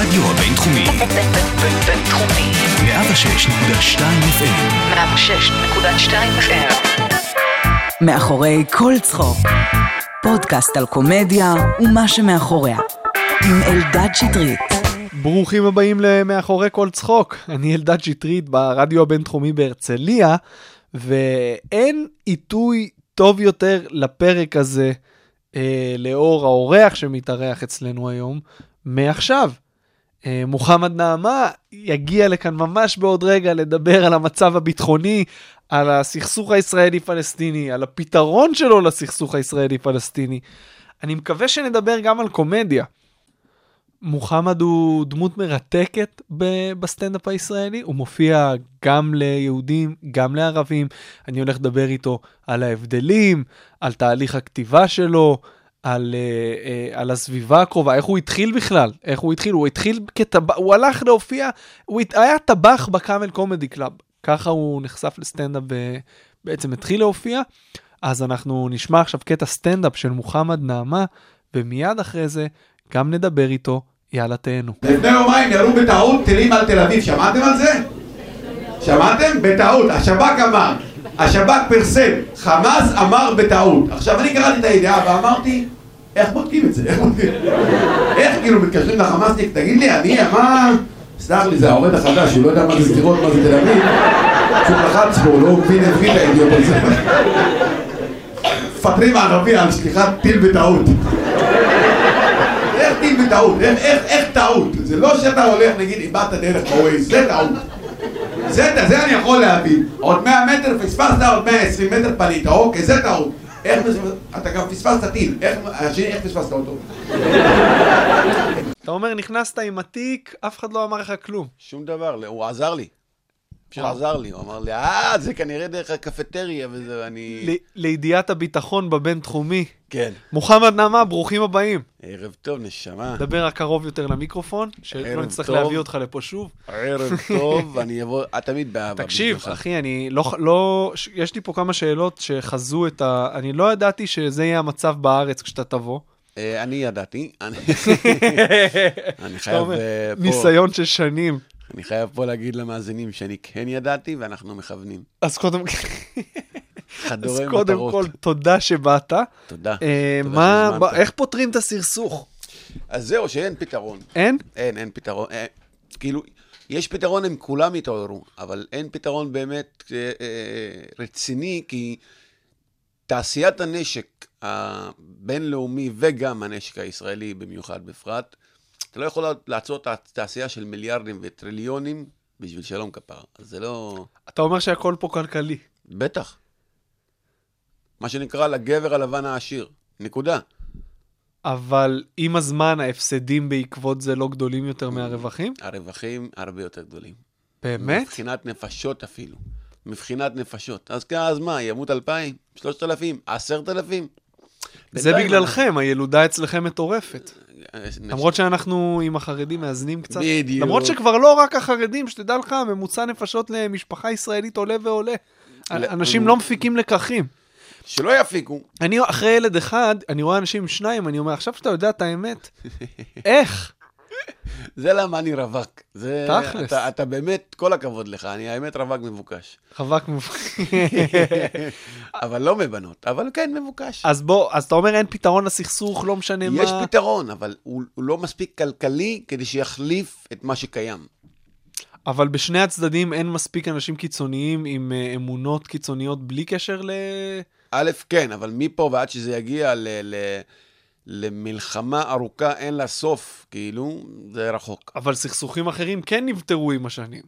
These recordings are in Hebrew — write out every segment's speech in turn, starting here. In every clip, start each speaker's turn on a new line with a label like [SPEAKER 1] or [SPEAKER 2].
[SPEAKER 1] בינתחומי.
[SPEAKER 2] בינתחומי,
[SPEAKER 1] 106.2 FM
[SPEAKER 2] 106.2 FM.
[SPEAKER 3] מאחורי כל צחוק. פודקאסט על קומדיה ומה שמאחוריה. עם אלדד שטרית.
[SPEAKER 4] ברוכים הבאים למאחורי כל צחוק, אני אלדד שטרית ברדיו הבינתחומי בהרצליה, ואין עיתוי טוב יותר לפרק הזה אה, לאור האורח שמתארח אצלנו היום, מעכשיו. אה, מוחמד נעמה יגיע לכאן ממש בעוד רגע לדבר על המצב הביטחוני, על הסכסוך הישראלי-פלסטיני, על הפתרון שלו לסכסוך הישראלי-פלסטיני. אני מקווה שנדבר גם על קומדיה. מוחמד הוא דמות מרתקת ב- בסטנדאפ הישראלי, הוא מופיע גם ליהודים, גם לערבים. אני הולך לדבר איתו על ההבדלים, על תהליך הכתיבה שלו, על, uh, uh, על הסביבה הקרובה, איך הוא התחיל בכלל, איך הוא התחיל, הוא התחיל כטבח, הוא הלך להופיע, הוא הת... היה טבח בקאמל קומדי קלאב, ככה הוא נחשף לסטנדאפ ובעצם התחיל להופיע. אז אנחנו נשמע עכשיו קטע סטנדאפ של מוחמד נעמה, ומיד אחרי זה גם נדבר איתו, יאללה תהנו.
[SPEAKER 5] לפני יומיים ירו בטעות טילים על תל אביב, שמעתם על זה? שמעתם? בטעות. השב"כ אמר, השב"כ פרסם, חמאס אמר בטעות. עכשיו אני קראתי את הידיעה ואמרתי, איך בודקים את זה? איך בודקים? איך כאילו מתקשרים לחמאסניק, תגיד לי, אני, מה... סלח לי, זה העובד החדש, הוא לא יודע מה זה סגירות, מה זה תל אביב. פשוט לחץ בו, הוא לא מבין את מי האידיוט הזה. מפטרים ערבי על שליחת טיל בטעות. איך טיל בטעות? איך, איך, איך טעות? זה לא שאתה הולך, נגיד, איבדת דרך בווייז, זה טעות. זה, זה אני יכול להבין. עוד 100 מטר פספסת, עוד 120 מטר פנית, אוקיי, זה טעות. איך פספסת? אתה גם פספסת טיל, איך, השני, איך פספסת אותו?
[SPEAKER 4] אתה אומר, נכנסת עם התיק, אף אחד לא אמר לך כלום.
[SPEAKER 6] שום דבר, לא, הוא עזר לי. הוא עזר לי, הוא אמר לי, אה, זה כנראה דרך הקפטריה וזה, אני...
[SPEAKER 4] ל- לידיעת הביטחון בבינתחומי.
[SPEAKER 6] כן.
[SPEAKER 4] מוחמד נעמה, ברוכים הבאים.
[SPEAKER 6] ערב טוב, נשמה.
[SPEAKER 4] דבר הקרוב יותר למיקרופון, שלא
[SPEAKER 6] ערב
[SPEAKER 4] נצטרך
[SPEAKER 6] טוב.
[SPEAKER 4] להביא אותך לפה שוב.
[SPEAKER 6] ערב טוב, אני אבוא, את תמיד באהבה.
[SPEAKER 4] תקשיב,
[SPEAKER 6] בשבילך.
[SPEAKER 4] אחי, אני לא, לא... ש- יש לי פה כמה שאלות שחזו את ה... אני לא ידעתי שזה יהיה המצב בארץ כשאתה תבוא.
[SPEAKER 6] אה, אני ידעתי, אני- אני
[SPEAKER 4] אתה
[SPEAKER 6] חייב
[SPEAKER 4] אומר,
[SPEAKER 6] אה, פה...
[SPEAKER 4] ניסיון של שנים.
[SPEAKER 6] אני חייב פה להגיד למאזינים שאני כן ידעתי ואנחנו מכוונים.
[SPEAKER 4] אז קודם אז
[SPEAKER 6] חדורי
[SPEAKER 4] קודם כל,
[SPEAKER 6] מטרות.
[SPEAKER 4] תודה שבאת.
[SPEAKER 6] תודה.
[SPEAKER 4] אה,
[SPEAKER 6] תודה
[SPEAKER 4] מה-
[SPEAKER 6] שהזמנת.
[SPEAKER 4] ב- איך פותרים את הסכסוך?
[SPEAKER 6] אז זהו, שאין פתרון.
[SPEAKER 4] אין?
[SPEAKER 6] אין, אין פתרון. אה, כאילו, יש פתרון, הם כולם יתעוררו, אבל אין פתרון באמת אה, אה, רציני, כי תעשיית הנשק הבינלאומי וגם הנשק הישראלי במיוחד בפרט, אתה לא יכול לעצור את התעשייה של מיליארדים וטריליונים בשביל שלום כפר. אז זה לא...
[SPEAKER 4] אתה אומר שהכל פה כלכלי.
[SPEAKER 6] בטח. מה שנקרא לגבר הלבן העשיר. נקודה.
[SPEAKER 4] אבל עם הזמן ההפסדים בעקבות זה לא גדולים יותר מהרווחים?
[SPEAKER 6] הרווחים הרבה יותר גדולים.
[SPEAKER 4] באמת?
[SPEAKER 6] מבחינת נפשות אפילו. מבחינת נפשות. אז כן, אז מה, ימות 2,000? 3,000? 10,000?
[SPEAKER 4] זה
[SPEAKER 6] בינתיים נכון. אה,
[SPEAKER 4] בגללכם, הילודה אצלכם מטורפת.
[SPEAKER 6] אנחנו-
[SPEAKER 4] למרות שאנחנו עם החרדים מאזנים קצת.
[SPEAKER 6] בדיוק.
[SPEAKER 4] למרות שכבר לא רק החרדים, שתדע לך, ממוצע נפשות למשפחה ישראלית עולה ועולה. אנשים לא מפיקים לקחים.
[SPEAKER 6] שלא יפיקו.
[SPEAKER 4] אני אחרי ילד אחד, אני רואה אנשים עם שניים, אני אומר, עכשיו שאתה יודע את האמת, איך?
[SPEAKER 6] זה למה אני רווק. זה...
[SPEAKER 4] תכלס.
[SPEAKER 6] אתה, אתה באמת, כל הכבוד לך, אני האמת רווק מבוקש.
[SPEAKER 4] חבק מובחן.
[SPEAKER 6] אבל לא מבנות, אבל כן מבוקש.
[SPEAKER 4] אז בוא, אז אתה אומר אין פתרון לסכסוך, לא משנה מה.
[SPEAKER 6] יש פתרון, אבל הוא, הוא לא מספיק כלכלי כדי שיחליף את מה שקיים.
[SPEAKER 4] אבל בשני הצדדים אין מספיק אנשים קיצוניים עם אה, אמונות קיצוניות בלי קשר ל...
[SPEAKER 6] א', כן, אבל מפה ועד שזה יגיע ל... ל... למלחמה ארוכה אין לה סוף, כאילו, זה רחוק.
[SPEAKER 4] אבל סכסוכים אחרים כן נפתרו עם השנים.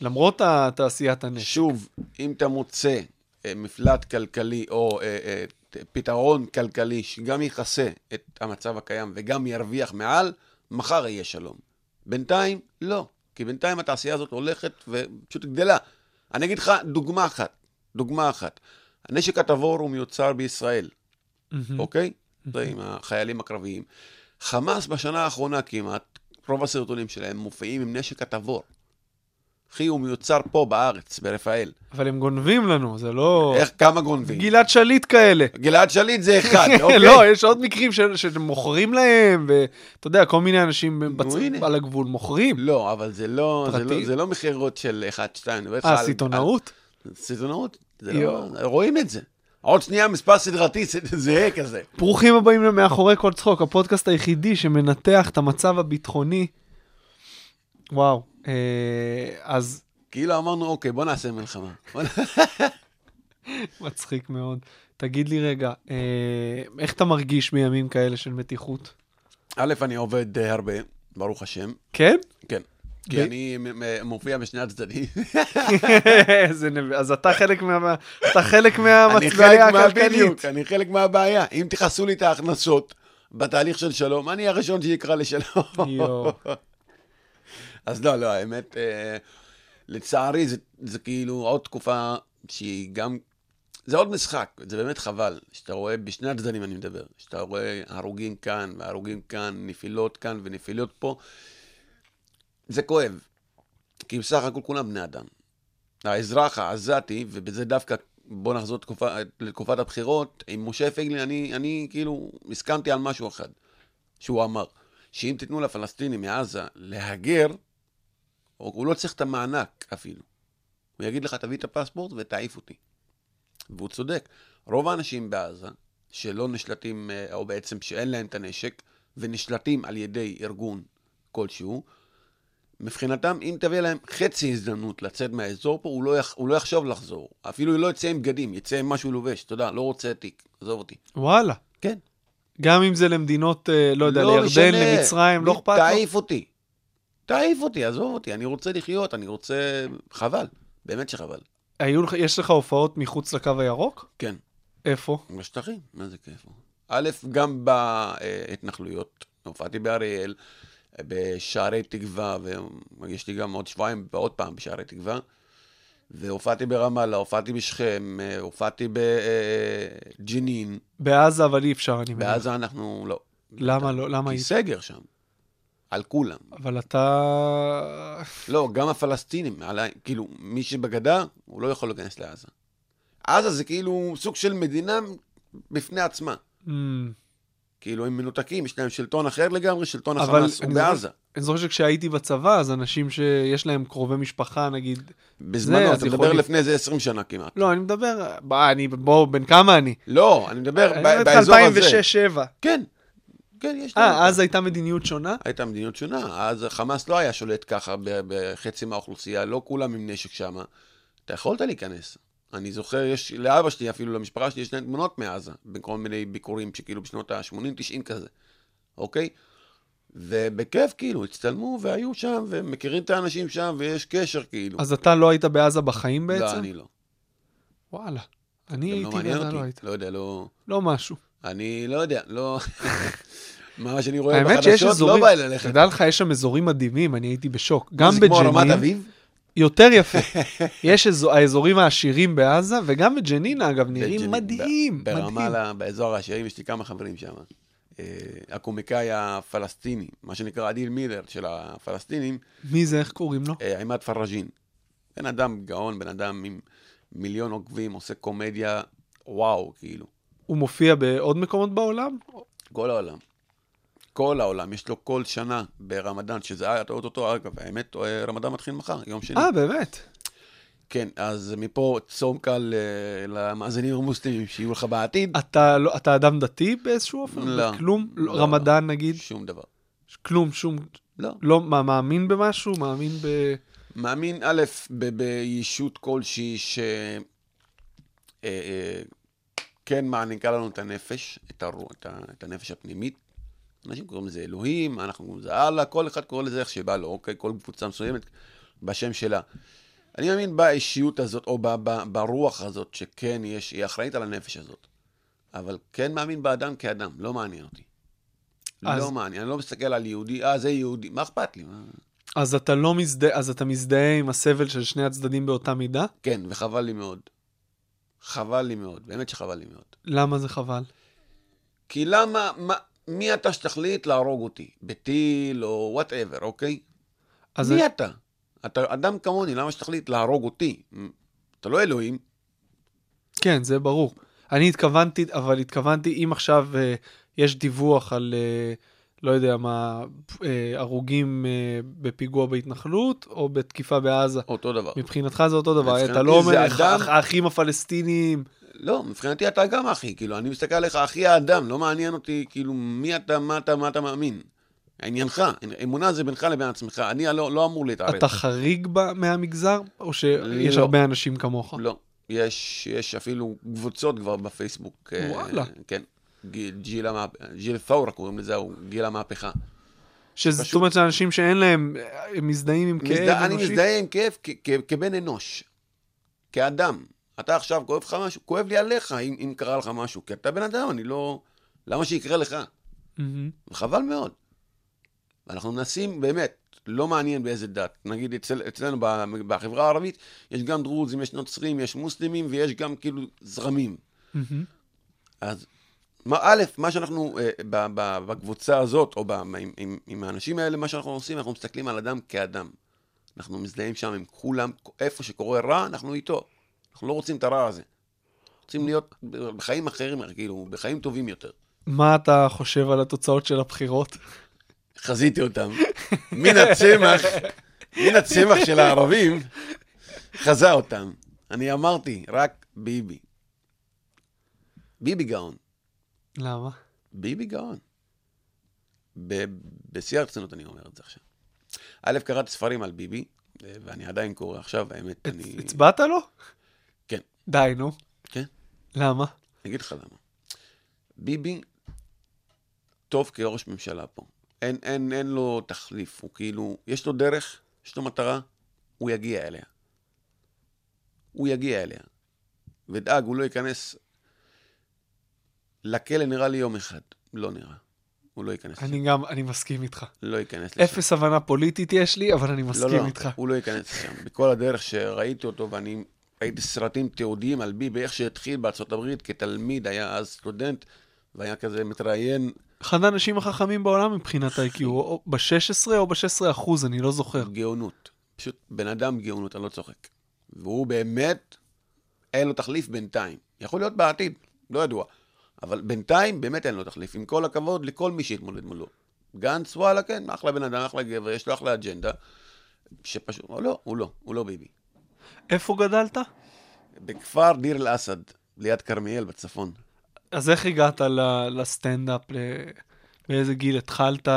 [SPEAKER 4] למרות ה- תעשיית הנשק.
[SPEAKER 6] שוב, אם אתה מוצא אה, מפלט כלכלי או אה, אה, ת- פתרון כלכלי שגם יכסה את המצב הקיים וגם ירוויח מעל, מחר יהיה שלום. בינתיים, לא. כי בינתיים התעשייה הזאת הולכת ופשוט גדלה. אני אגיד לך דוגמה אחת, דוגמה אחת. הנשק הטבור הוא מיוצר בישראל,
[SPEAKER 4] מהמם.
[SPEAKER 6] אוקיי?
[SPEAKER 4] Mm-hmm.
[SPEAKER 6] זה עם החיילים הקרביים. חמאס בשנה האחרונה כמעט, רוב הסרטונים שלהם מופיעים עם נשק הטבור. אחי, הוא מיוצר פה בארץ, ברפאל.
[SPEAKER 4] אבל הם גונבים לנו, זה לא...
[SPEAKER 6] איך, כמה גונבים?
[SPEAKER 4] גלעד שליט כאלה.
[SPEAKER 6] גלעד שליט זה אחד, אוקיי?
[SPEAKER 4] לא, יש עוד מקרים ש- שמוכרים להם, ואתה יודע, כל מיני אנשים בצ-
[SPEAKER 6] הנה.
[SPEAKER 4] על הגבול מוכרים.
[SPEAKER 6] לא, אבל זה לא, זה
[SPEAKER 4] פרטי?
[SPEAKER 6] לא, זה לא מכירות של 1-2.
[SPEAKER 4] אה, סיטונאות?
[SPEAKER 6] סיטונאות, זה
[SPEAKER 4] יואו.
[SPEAKER 6] לא, רואים את זה. עוד שנייה מספר סדרתי זה- זהה כזה.
[SPEAKER 4] ברוכים הבאים למאחורי כל צחוק, הפודקאסט היחידי שמנתח את המצב הביטחוני. וואו, אה, אז
[SPEAKER 6] כאילו אמרנו, אוקיי, בוא נעשה מלחמה. בוא נ-
[SPEAKER 4] מצחיק מאוד. תגיד לי רגע, אה, איך אתה מרגיש בימים כאלה של מתיחות?
[SPEAKER 6] א', אני עובד אה, הרבה, ברוך השם,
[SPEAKER 4] כן?
[SPEAKER 6] כן.
[SPEAKER 4] ב-
[SPEAKER 6] כי אני מ- מ- מופיע בשני הצדדים.
[SPEAKER 4] איזה נביא, אז אתה חלק מה... אתה חלק
[SPEAKER 6] אני חלק
[SPEAKER 4] מהמצבעיה הכלכלית.
[SPEAKER 6] מהבדיוק, אני חלק מהבעיה. אם תכעסו לי את ההכנסות בתהליך של שלום, אני הראשון שיקרא לשלום.
[SPEAKER 4] יואו.
[SPEAKER 6] אז לא, לא, האמת, אה, לצערי, זה, זה כאילו עוד תקופה שהיא גם... זה עוד משחק, זה באמת חבל, שאתה רואה, בשני הצדדים אני מדבר, שאתה רואה הרוגים כאן והרוגים כאן, נפילות כאן ונפילות פה, זה כואב, כי בסך הכל כולם בני אדם. האזרח העזתי, ובזה דווקא, בוא נחזור תקופה, לתקופת הבחירות, עם משה פייגלין, אני, אני כאילו הסכמתי על משהו אחד, שהוא אמר, שאם תיתנו לפלסטינים מעזה להגר, הוא הוא לא צריך את המענק אפילו. הוא יגיד לך, תביא את הפספורט ותעיף אותי. והוא צודק. רוב האנשים בעזה, שלא נשלטים, אה, או בעצם שאין להם את הנשק, ונשלטים על ידי ארגון כלשהו, מבחינתם, אם תביא להם חצי הזדמנות לצאת מהאזור פה, הוא לא, יח, הוא לא יחשוב לחזור. אפילו לא יצא עם בגדים, יצא עם משהו לובש, תודה, לא רוצה תיק, עזוב אותי.
[SPEAKER 4] וואלה.
[SPEAKER 6] כן.
[SPEAKER 4] גם אם זה למדינות, אה, לא יודע, לירדן,
[SPEAKER 6] משנה.
[SPEAKER 4] למצרים, לא
[SPEAKER 6] מי-
[SPEAKER 4] אכפת לו?
[SPEAKER 6] תעיף אותי. תעיף אותי, עזוב אותי, אני רוצה לחיות, אני רוצה... חבל, באמת שחבל.
[SPEAKER 4] היו לך- יש לך הופעות מחוץ לקו הירוק?
[SPEAKER 6] כן,
[SPEAKER 4] איפה?
[SPEAKER 6] בשטחים, מה זה כיף. א', גם בהתנחלויות, הופעתי באריאל, בשערי תקווה, ויש לי גם עוד שבועיים, ועוד פעם בשערי תקווה, והופעתי ברמאללה, הופעתי בשכם, אה, הופעתי בג'נין,
[SPEAKER 4] בעזה, אבל אי אפשר, אני מבין.
[SPEAKER 6] בעזה אנחנו לא.
[SPEAKER 4] Mm-hmm. למה לא? למה אי
[SPEAKER 6] כי
[SPEAKER 4] אפשר?
[SPEAKER 6] סגר שם, על כולם.
[SPEAKER 4] אבל אתה...
[SPEAKER 6] לא, גם הפלסטינים, עליי, כאילו, מי שבגדה, הוא לא יכול להיכנס לעזה. עזה זה כאילו סוג של מדינה בפני עצמה.
[SPEAKER 4] אמ,
[SPEAKER 6] כאילו, הם מנותקים, יש להם שלטון אחר לגמרי, שלטון
[SPEAKER 4] אבל
[SPEAKER 6] החמאס הוא
[SPEAKER 4] אני זוכר-
[SPEAKER 6] בעזה.
[SPEAKER 4] אני זוכר שכשהייתי בצבא, אז אנשים שיש להם קרובי משפחה, נגיד...
[SPEAKER 6] בזמנו,
[SPEAKER 4] אז
[SPEAKER 6] אתה מדבר
[SPEAKER 4] יכולים.
[SPEAKER 6] לפני איזה 20 שנה כמעט.
[SPEAKER 4] לא, אני מדבר... בוא, אני... בואו, בן כמה אני?
[SPEAKER 6] לא, אני מדבר
[SPEAKER 4] אני
[SPEAKER 6] ב-
[SPEAKER 4] מדבר איתך
[SPEAKER 6] באזור הזה.
[SPEAKER 4] 2006-2007.
[SPEAKER 6] כן, כן, יש לנו.
[SPEAKER 4] אה, אז הייתה מדיניות שונה?
[SPEAKER 6] הייתה מדיניות שונה, אז חמאס לא היה שולט ככה ב- בחצי מהאוכלוסייה, לא כולם עם נשק שם. אתה יכולת להיכנס. אני זוכר, יש לאבא שלי, אפילו למשפחה שלי, יש להם תמונות מעזה, בכל מיני ביקורים שכאילו בשנות ה-80-90 כזה, אוקיי? ובכיף כאילו, הצטלמו והיו שם, ומכירים את האנשים שם, ויש קשר כאילו.
[SPEAKER 4] אז אתה לא היית בעזה בחיים בעצם?
[SPEAKER 6] לא, אני לא.
[SPEAKER 4] וואלה. אני
[SPEAKER 6] גם לא
[SPEAKER 4] הייתי
[SPEAKER 6] מעניין
[SPEAKER 4] ואתה לא היית.
[SPEAKER 6] אותי. לא יודע, לא...
[SPEAKER 4] לא משהו.
[SPEAKER 6] אני לא יודע, לא... מה שאני רואה
[SPEAKER 4] האמת שיש
[SPEAKER 6] בחדשות, לא
[SPEAKER 4] אזורים...
[SPEAKER 6] בא לי ללכת.
[SPEAKER 4] תדע לך, יש שם אזורים מדהימים, אני הייתי בשוק. גם
[SPEAKER 6] זה כמו רמת
[SPEAKER 4] בג'נין,
[SPEAKER 6] אביב?
[SPEAKER 4] יותר יפה. יש אזו- האזורים העשירים בעזה, וגם בג'נין, אגב, נראים
[SPEAKER 6] בג'נין,
[SPEAKER 4] מדהים.
[SPEAKER 6] ב-
[SPEAKER 4] מדהים.
[SPEAKER 6] ברמאללה, באזור העשירים, יש לי כמה חברים שם. אה, הקומיקאי הפלסטיני, מה שנקרא עדיל מילר של הפלסטינים,
[SPEAKER 4] מי זה, איך קוראים לו?
[SPEAKER 6] אה, עימאד פרג'ין. בן אדם גאון, בן אדם עם מיליון עוקבים, עושה קומדיה, וואו, כאילו.
[SPEAKER 4] הוא מופיע בעוד מקומות בעולם?
[SPEAKER 6] כל העולם. כל העולם, יש לו כל שנה ברמדאן, שזה היה, אתה רואה אותו, אגב, האמת, אה, רמדאן מתחיל מחר, יום שני.
[SPEAKER 4] אה, באמת?
[SPEAKER 6] כן, אז מפה צום קל אה, למאזינים המוסלמים, שיהיו לך בעתיד.
[SPEAKER 4] אתה לא- אתה אדם דתי באיזשהו אופן?
[SPEAKER 6] לא.
[SPEAKER 4] כלום?
[SPEAKER 6] לא.
[SPEAKER 4] אה, רמדאן נגיד?
[SPEAKER 6] שום דבר.
[SPEAKER 4] כלום, שום...
[SPEAKER 6] לא.
[SPEAKER 4] לא, מה, מאמין במשהו? מאמין ב...
[SPEAKER 6] מאמין, א', ב- בישות כלשהי ש... אה, אה, כן מעניקה לנו את הנפש, את, הרו, את, ה, את הנפש הפנימית. אנשים קוראים לזה אלוהים, אנחנו קוראים לזה אללה, כל אחד קורא לזה איך שבא לו, אוקיי? כל קבוצה מסוימת בשם שלה. אני מאמין באישיות הזאת, או ב, ב, ברוח הזאת, שכן יש, היא אחראית על הנפש הזאת. אבל כן מאמין באדם כאדם, לא מעניין אותי.
[SPEAKER 4] אז-
[SPEAKER 6] לא מעניין, אני לא מסתכל על יהודי, אה, זה יהודי, מה אכפת לי? מה...
[SPEAKER 4] אז אתה לא מזדהה, אז אתה מזדהה עם הסבל של שני הצדדים באותה מידה?
[SPEAKER 6] כן, וחבל לי מאוד. חבל לי מאוד, באמת שחבל לי מאוד.
[SPEAKER 4] למה זה חבל?
[SPEAKER 6] כי למה, מה, מי אתה שתחליט להרוג אותי? בטיל או וואטאבר, אוקיי?
[SPEAKER 4] אז
[SPEAKER 6] מי
[SPEAKER 4] אני-
[SPEAKER 6] אתה? אתה אדם כמוני, למה שתחליט להרוג אותי? אתה לא אלוהים.
[SPEAKER 4] כן, זה ברור. אני התכוונתי, אבל התכוונתי, אם עכשיו אה, יש דיווח על, אה, לא יודע מה, אה, הרוגים אה, בפיגוע בהתנחלות או בתקיפה בעזה.
[SPEAKER 6] אותו דבר.
[SPEAKER 4] מבחינתך זה אותו דבר, אתה
[SPEAKER 6] מבחינתי
[SPEAKER 4] לא אומר
[SPEAKER 6] זה
[SPEAKER 4] "אח-
[SPEAKER 6] אדם-
[SPEAKER 4] אח- האחים הפלסטינים,
[SPEAKER 6] לא, מבחינתי אתה גם אחי, כאילו, אני מסתכל עליך, אחי האדם, לא מעניין אותי, כאילו, מי אתה, מה אתה, מה אתה מאמין. עניינך, אמונה זה בינך לבין עצמך, אני לא, לא אמור להתערב.
[SPEAKER 4] אתה חריג ב- מהמגזר, או שיש
[SPEAKER 6] לא.
[SPEAKER 4] הרבה אנשים כמוך?
[SPEAKER 6] לא, יש, יש אפילו קבוצות כבר בפייסבוק. אה,
[SPEAKER 4] וואלה.
[SPEAKER 6] כן. גיל, גיל, המהפ- גיל פאורה קוראים לזה, הוא גיל המהפכה.
[SPEAKER 4] שזאת
[SPEAKER 6] פשוט-
[SPEAKER 4] אומרת שאנשים שאין להם, אה, הם מזדהים עם כאב
[SPEAKER 6] מזדה, אני
[SPEAKER 4] אנושי?
[SPEAKER 6] מזדהה עם כאב כ- כ- כבן אנוש, כאדם. אתה עכשיו כואב לך משהו, כואב לי עליך אם, אם קרה לך משהו, כי אתה בן אדם, אני לא... למה שיקרה לך?
[SPEAKER 4] מהם.
[SPEAKER 6] וחבל מאוד. אנחנו מנסים, באמת, לא מעניין באיזה דת. נגיד אצל, אצלנו ב- בחברה הערבית, יש גם דרוזים, יש נוצרים, יש מוסלמים, ויש גם כאילו זרמים.
[SPEAKER 4] מהם.
[SPEAKER 6] אז מה, א', מה שאנחנו אה, ב, ב, בקבוצה הזאת, או ב, עם, עם, עם האנשים האלה, מה שאנחנו עושים, אנחנו מסתכלים על אדם כאדם. אנחנו מזדהים שם עם כולם, איפה שקורה רע, אנחנו איתו. אנחנו לא רוצים את הרע הזה. רוצים להיות בחיים אחרים, כאילו, בחיים טובים יותר.
[SPEAKER 4] מה אתה חושב על התוצאות של הבחירות?
[SPEAKER 6] חזיתי אותם. מן הצמח, מן הצמח של הערבים, חזה אותם. אני אמרתי, רק ביבי. ביבי גאון.
[SPEAKER 4] למה?
[SPEAKER 6] ביבי גאון. ב- בשיא הרצינות אני אומר את זה עכשיו. א', קראתי ספרים על ביבי, אה, ואני עדיין קורא עכשיו, האמת, אני...
[SPEAKER 4] הצבעת לו?
[SPEAKER 6] כן.
[SPEAKER 4] די, נו.
[SPEAKER 6] כן.
[SPEAKER 4] למה?
[SPEAKER 6] אני אגיד לך למה. ביבי טוב כראש ממשלה פה. אין, אין, אין לו תחליף, הוא כאילו, יש לו דרך, יש לו מטרה, הוא יגיע אליה. הוא יגיע אליה. ודאג, הוא לא ייכנס לכלא נראה לי יום אחד. לא נראה. הוא לא ייכנס לשם.
[SPEAKER 4] אני גם, אני מסכים איתך.
[SPEAKER 6] לא ייכנס לשם.
[SPEAKER 4] אפס הבנה פוליטית יש לי, אבל אני
[SPEAKER 6] לא,
[SPEAKER 4] מסכים
[SPEAKER 6] לא,
[SPEAKER 4] איתך.
[SPEAKER 6] הוא לא ייכנס לשם. בכל הדרך שראיתי אותו, ואני ראיתי סרטים תיעודיים על ביבי, איך שהתחיל בארצות הברית כתלמיד, היה אז סטודנט, והיה כזה מתראיין
[SPEAKER 4] אחד האנשים החכמים בעולם מבחינת ה-IQ, או ב-16 או ב-16 אחוז, אני לא זוכר.
[SPEAKER 6] גאונות. פשוט בן אדם גאונות, אני לא צוחק. והוא באמת, אין לו תחליף בינתיים. יכול להיות בעתיד, לא ידוע. אבל בינתיים באמת אין לו תחליף, עם כל הכבוד לכל מי שהתמודד מולו. גנץ, וואלה, כן, אחלה בן אדם, אחלה גבר, יש לו אחלה אג'נדה. שפשוט, הוא לא, הוא לא, הוא לא ביבי.
[SPEAKER 4] איפה גדלת?
[SPEAKER 6] בכפר דיר אל-אסד, ליד כרמיאל בצפון.
[SPEAKER 4] אז איך הגעת ל- לסטנדאפ? ל- באיזה גיל התחלת?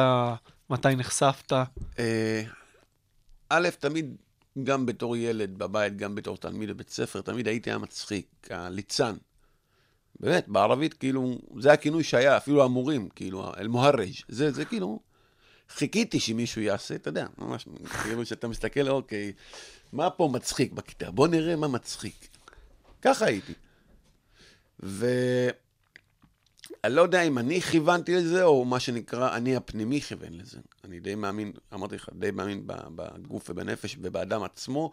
[SPEAKER 4] מתי נחשפת?
[SPEAKER 6] אה, א', תמיד, גם בתור ילד בבית, גם בתור תלמיד בבית ספר, תמיד הייתי המצחיק, הליצן. באמת, בערבית, כאילו, זה הכינוי שהיה, אפילו המורים, כאילו, אל-מוהרג', זה, זה כאילו, חיכיתי שמישהו יעשה, אתה יודע, ממש, כאילו, שאתה מסתכל, אוקיי, מה פה מצחיק בכיתה? בוא נראה מה מצחיק. ככה הייתי. ואני לא יודע אם אני כיוונתי לזה, או מה שנקרא, אני הפנימי כיוון לזה. אני די מאמין, אמרתי לך, די מאמין ב- בגוף ובנפש ובאדם עצמו,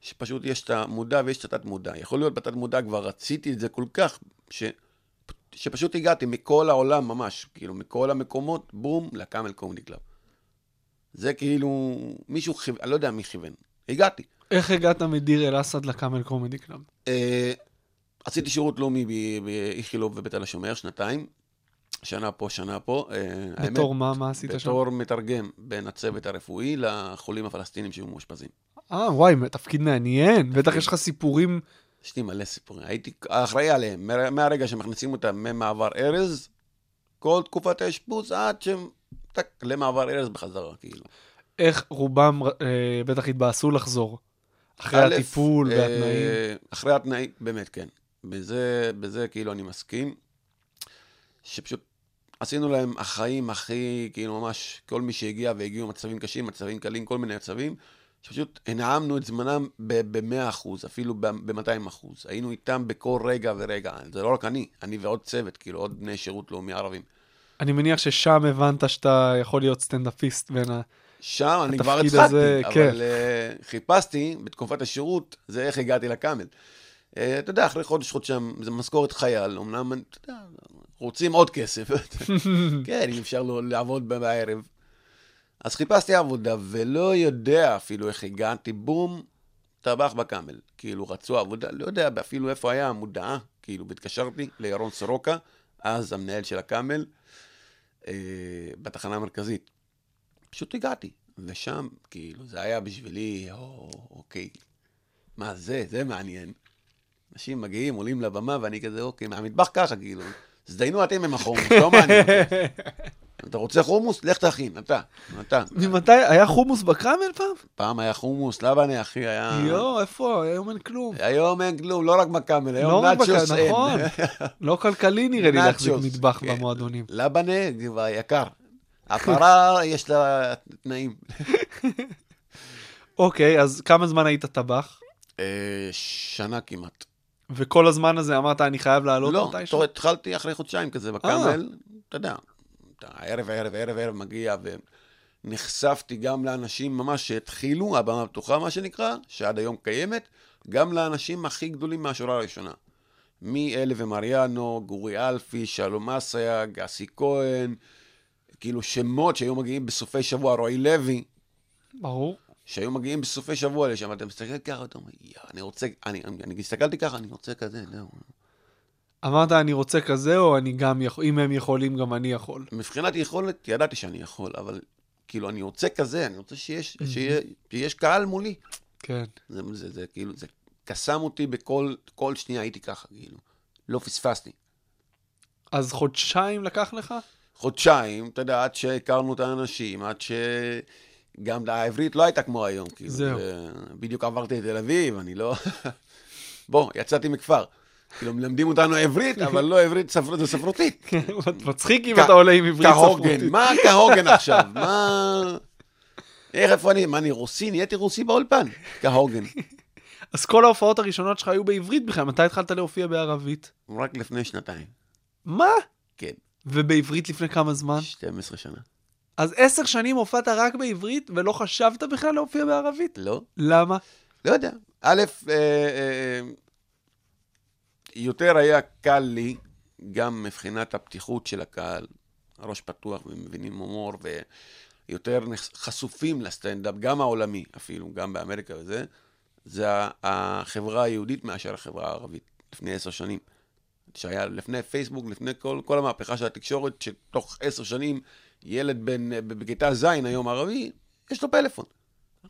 [SPEAKER 6] שפשוט יש את המודע ויש את התת-מודע. יכול להיות בתת-מודע כבר רציתי את זה כל כך, ש... שפשוט הגעתי מכל העולם ממש, כאילו, מכל המקומות, בום, לקאמל קומדי קלאב. זה כאילו, מישהו כיוון, אני לא יודע מי כיוון. הגעתי.
[SPEAKER 4] איך הגעת מדיר אל-אסד לקאמל קומדי קלאב?
[SPEAKER 6] אה, עשיתי שירות לאומי ב- באיכילוב ובתל השומר, שנתיים. שנה פה, שנה פה. אה,
[SPEAKER 4] בתור
[SPEAKER 6] האמת,
[SPEAKER 4] מה? מה עשית שם?
[SPEAKER 6] בתור מתרגם בין הצוות הרפואי לחולים הפלסטינים שהיו מאושפזים.
[SPEAKER 4] אה, וואי, תפקיד מעניין. בטח יש לך סיפורים
[SPEAKER 6] יש לי מלא סיפורים. הייתי אחראי עליהם, מה- מהרגע שמכניסים אותם ממעבר ארז, כל תקופת האשפוז עד שהם... טק, למעבר ארז בחזרה, כאילו.
[SPEAKER 4] איך רובם אה, בטח התבאסו לחזור. אחרי
[SPEAKER 6] א',
[SPEAKER 4] הטיפול
[SPEAKER 6] אה,
[SPEAKER 4] והתנאים.
[SPEAKER 6] אחרי התנאים, באמת, כן. בזה, בזה כאילו אני מסכים, שפשוט עשינו להם החיים הכי, כאילו ממש, כל מי שהגיע והגיעו מצבים קשים, מצבים קלים, כל מיני מצבים, שפשוט הנעמנו את זמנם ב-100%, אפילו ב-200%. היינו איתם בכל רגע ורגע. זה לא רק אני, אני ועוד צוות, כאילו עוד בני שירות לאומי ערבים.
[SPEAKER 4] אני מניח ששם הבנת שאתה יכול להיות סטנדאפיסט בין ה...
[SPEAKER 6] שם אני כבר
[SPEAKER 4] התפקיד
[SPEAKER 6] התחלתי,
[SPEAKER 4] הזה, כן.
[SPEAKER 6] אבל uh, חיפשתי בתקופת השירות, זה איך הגעתי לקאמל. Uh, אתה יודע, אחרי חודש חודשיים, זה משכורת חייל, אמנם, אתה יודע, רוצים עוד כסף. כן, אם אפשר לו לעבוד ב- לא בערב. אז חיפשתי עבודה, ולא יודע אפילו איך הגעתי, בום, טבח בקאמל. כאילו, רצו עבודה, לא יודע אפילו איפה היה המודעה. כאילו, והתקשרתי לירון סורוקה, אז המנהל של הקאמל, אה, בתחנה המרכזית. פשוט הגעתי, ושם, כאילו, זה היה בשבילי, או, אוקיי, מה זה, זה מעניין. אנשים מגיעים, עולים לבמה, ואני כזה, אוקיי, מהמטבח ככה, כאילו, הזדיינו אתם עם החומוס, לא מעניין. אתה רוצה חומוס? לך תכין, אתה, אתה.
[SPEAKER 4] ממתי? היה חומוס בקרמל פעם?
[SPEAKER 6] פעם היה חומוס, לבנה, אחי, היה...
[SPEAKER 4] יואו, איפה? היום אין כלום.
[SPEAKER 6] היום אין כלום, לא רק מקאמל,
[SPEAKER 4] לא
[SPEAKER 6] היום
[SPEAKER 4] רק
[SPEAKER 6] נאצ'וס
[SPEAKER 4] בקרמל,
[SPEAKER 6] אין.
[SPEAKER 4] נכון. לא כלכלי נראה לי להחזיק
[SPEAKER 6] נאצ'וס,
[SPEAKER 4] מטבח
[SPEAKER 6] כן.
[SPEAKER 4] במועדונים.
[SPEAKER 6] לבנה, זה כבר יקר. הפרה, יש לה תנאים.
[SPEAKER 4] אוקיי, אז כמה זמן היית טבח?
[SPEAKER 6] אה, שנה כמעט.
[SPEAKER 4] וכל הזמן הזה אמרת, אני חייב לעלות
[SPEAKER 6] לא,
[SPEAKER 4] מתישהו? אה.
[SPEAKER 6] לא, התחלתי אחרי חודשיים כזה בקאמל, אתה יודע, אתה ערב, ערב, ערב, ערב מגיע, ונחשפתי גם לאנשים ממש שהתחילו, הבמה הפתוחה, מה שנקרא, שעד היום קיימת, גם לאנשים הכי גדולים מהשורה הראשונה. מאלה ומריאנו, גורי אלפי, שלום אסייג, אסי כהן, כאילו שמות שהיו מגיעים בסופי שבוע, רועי לוי,
[SPEAKER 4] ברור.
[SPEAKER 6] שהיו מגיעים בסופי שבוע לשם, אתה מסתכל ככה, אתה אומר, יא, אני רוצה, אני, אני, אני הסתכלתי ככה, אני רוצה כזה, זהו.
[SPEAKER 4] אמרת, אני רוצה כזה, או אני גם יכול, אם הם יכולים, גם אני יכול.
[SPEAKER 6] מבחינת יכולת, ידעתי שאני יכול, אבל כאילו, אני רוצה כזה, אני רוצה שיש, שיהיה, שיש קהל מולי.
[SPEAKER 4] כן.
[SPEAKER 6] זה, זה, זה כאילו, זה קסם אותי בכל כל שנייה, הייתי ככה, כאילו. לא פספסתי.
[SPEAKER 4] אז חודשיים לקח לך?
[SPEAKER 6] חודשיים, אתה יודע, עד שהכרנו את האנשים, עד ש... גם העברית לא הייתה כמו היום, כאילו.
[SPEAKER 4] זהו.
[SPEAKER 6] זה- בדיוק עברתי לתל אביב, אני לא... בוא, יצאתי מכפר. כאילו, מלמדים אותנו עברית, אבל לא עברית ספר... ספרותית.
[SPEAKER 4] מצחיק אם
[SPEAKER 6] כ-
[SPEAKER 4] אתה עולה עם עברית
[SPEAKER 6] כהוגן,
[SPEAKER 4] ספרותית.
[SPEAKER 6] מה כהוגן עכשיו? מה... איך, איפה אני? מה, אני רוסי? נהייתי רוסי באולפן. כהוגן.
[SPEAKER 4] אז כל ההופעות הראשונות שלך היו בעברית בכלל, מתי התחלת להופיע בערבית?
[SPEAKER 6] רק לפני שנתיים.
[SPEAKER 4] מה?
[SPEAKER 6] כן,
[SPEAKER 4] ובעברית לפני כמה זמן?
[SPEAKER 6] 12 שנה.
[SPEAKER 4] אז עשר שנים הופעת רק בעברית, ולא חשבת בכלל להופיע בערבית?
[SPEAKER 6] לא?
[SPEAKER 4] למה?
[SPEAKER 6] לא יודע. א', אה, אה, יותר היה קל לי, גם מבחינת הפתיחות של הקהל, הראש פתוח ומבינים הומור, ויותר נחש- חשופים לסטנדאפ, גם העולמי אפילו, גם באמריקה וזה, זה ה- החברה היהודית מאשר החברה הערבית, לפני עשר שנים. שהיה לפני פייסבוק, לפני כל, כל המהפכה של התקשורת, שתוך עשר שנים ילד בן, בכיתה ז' היום ערבי, יש לו פלאפון.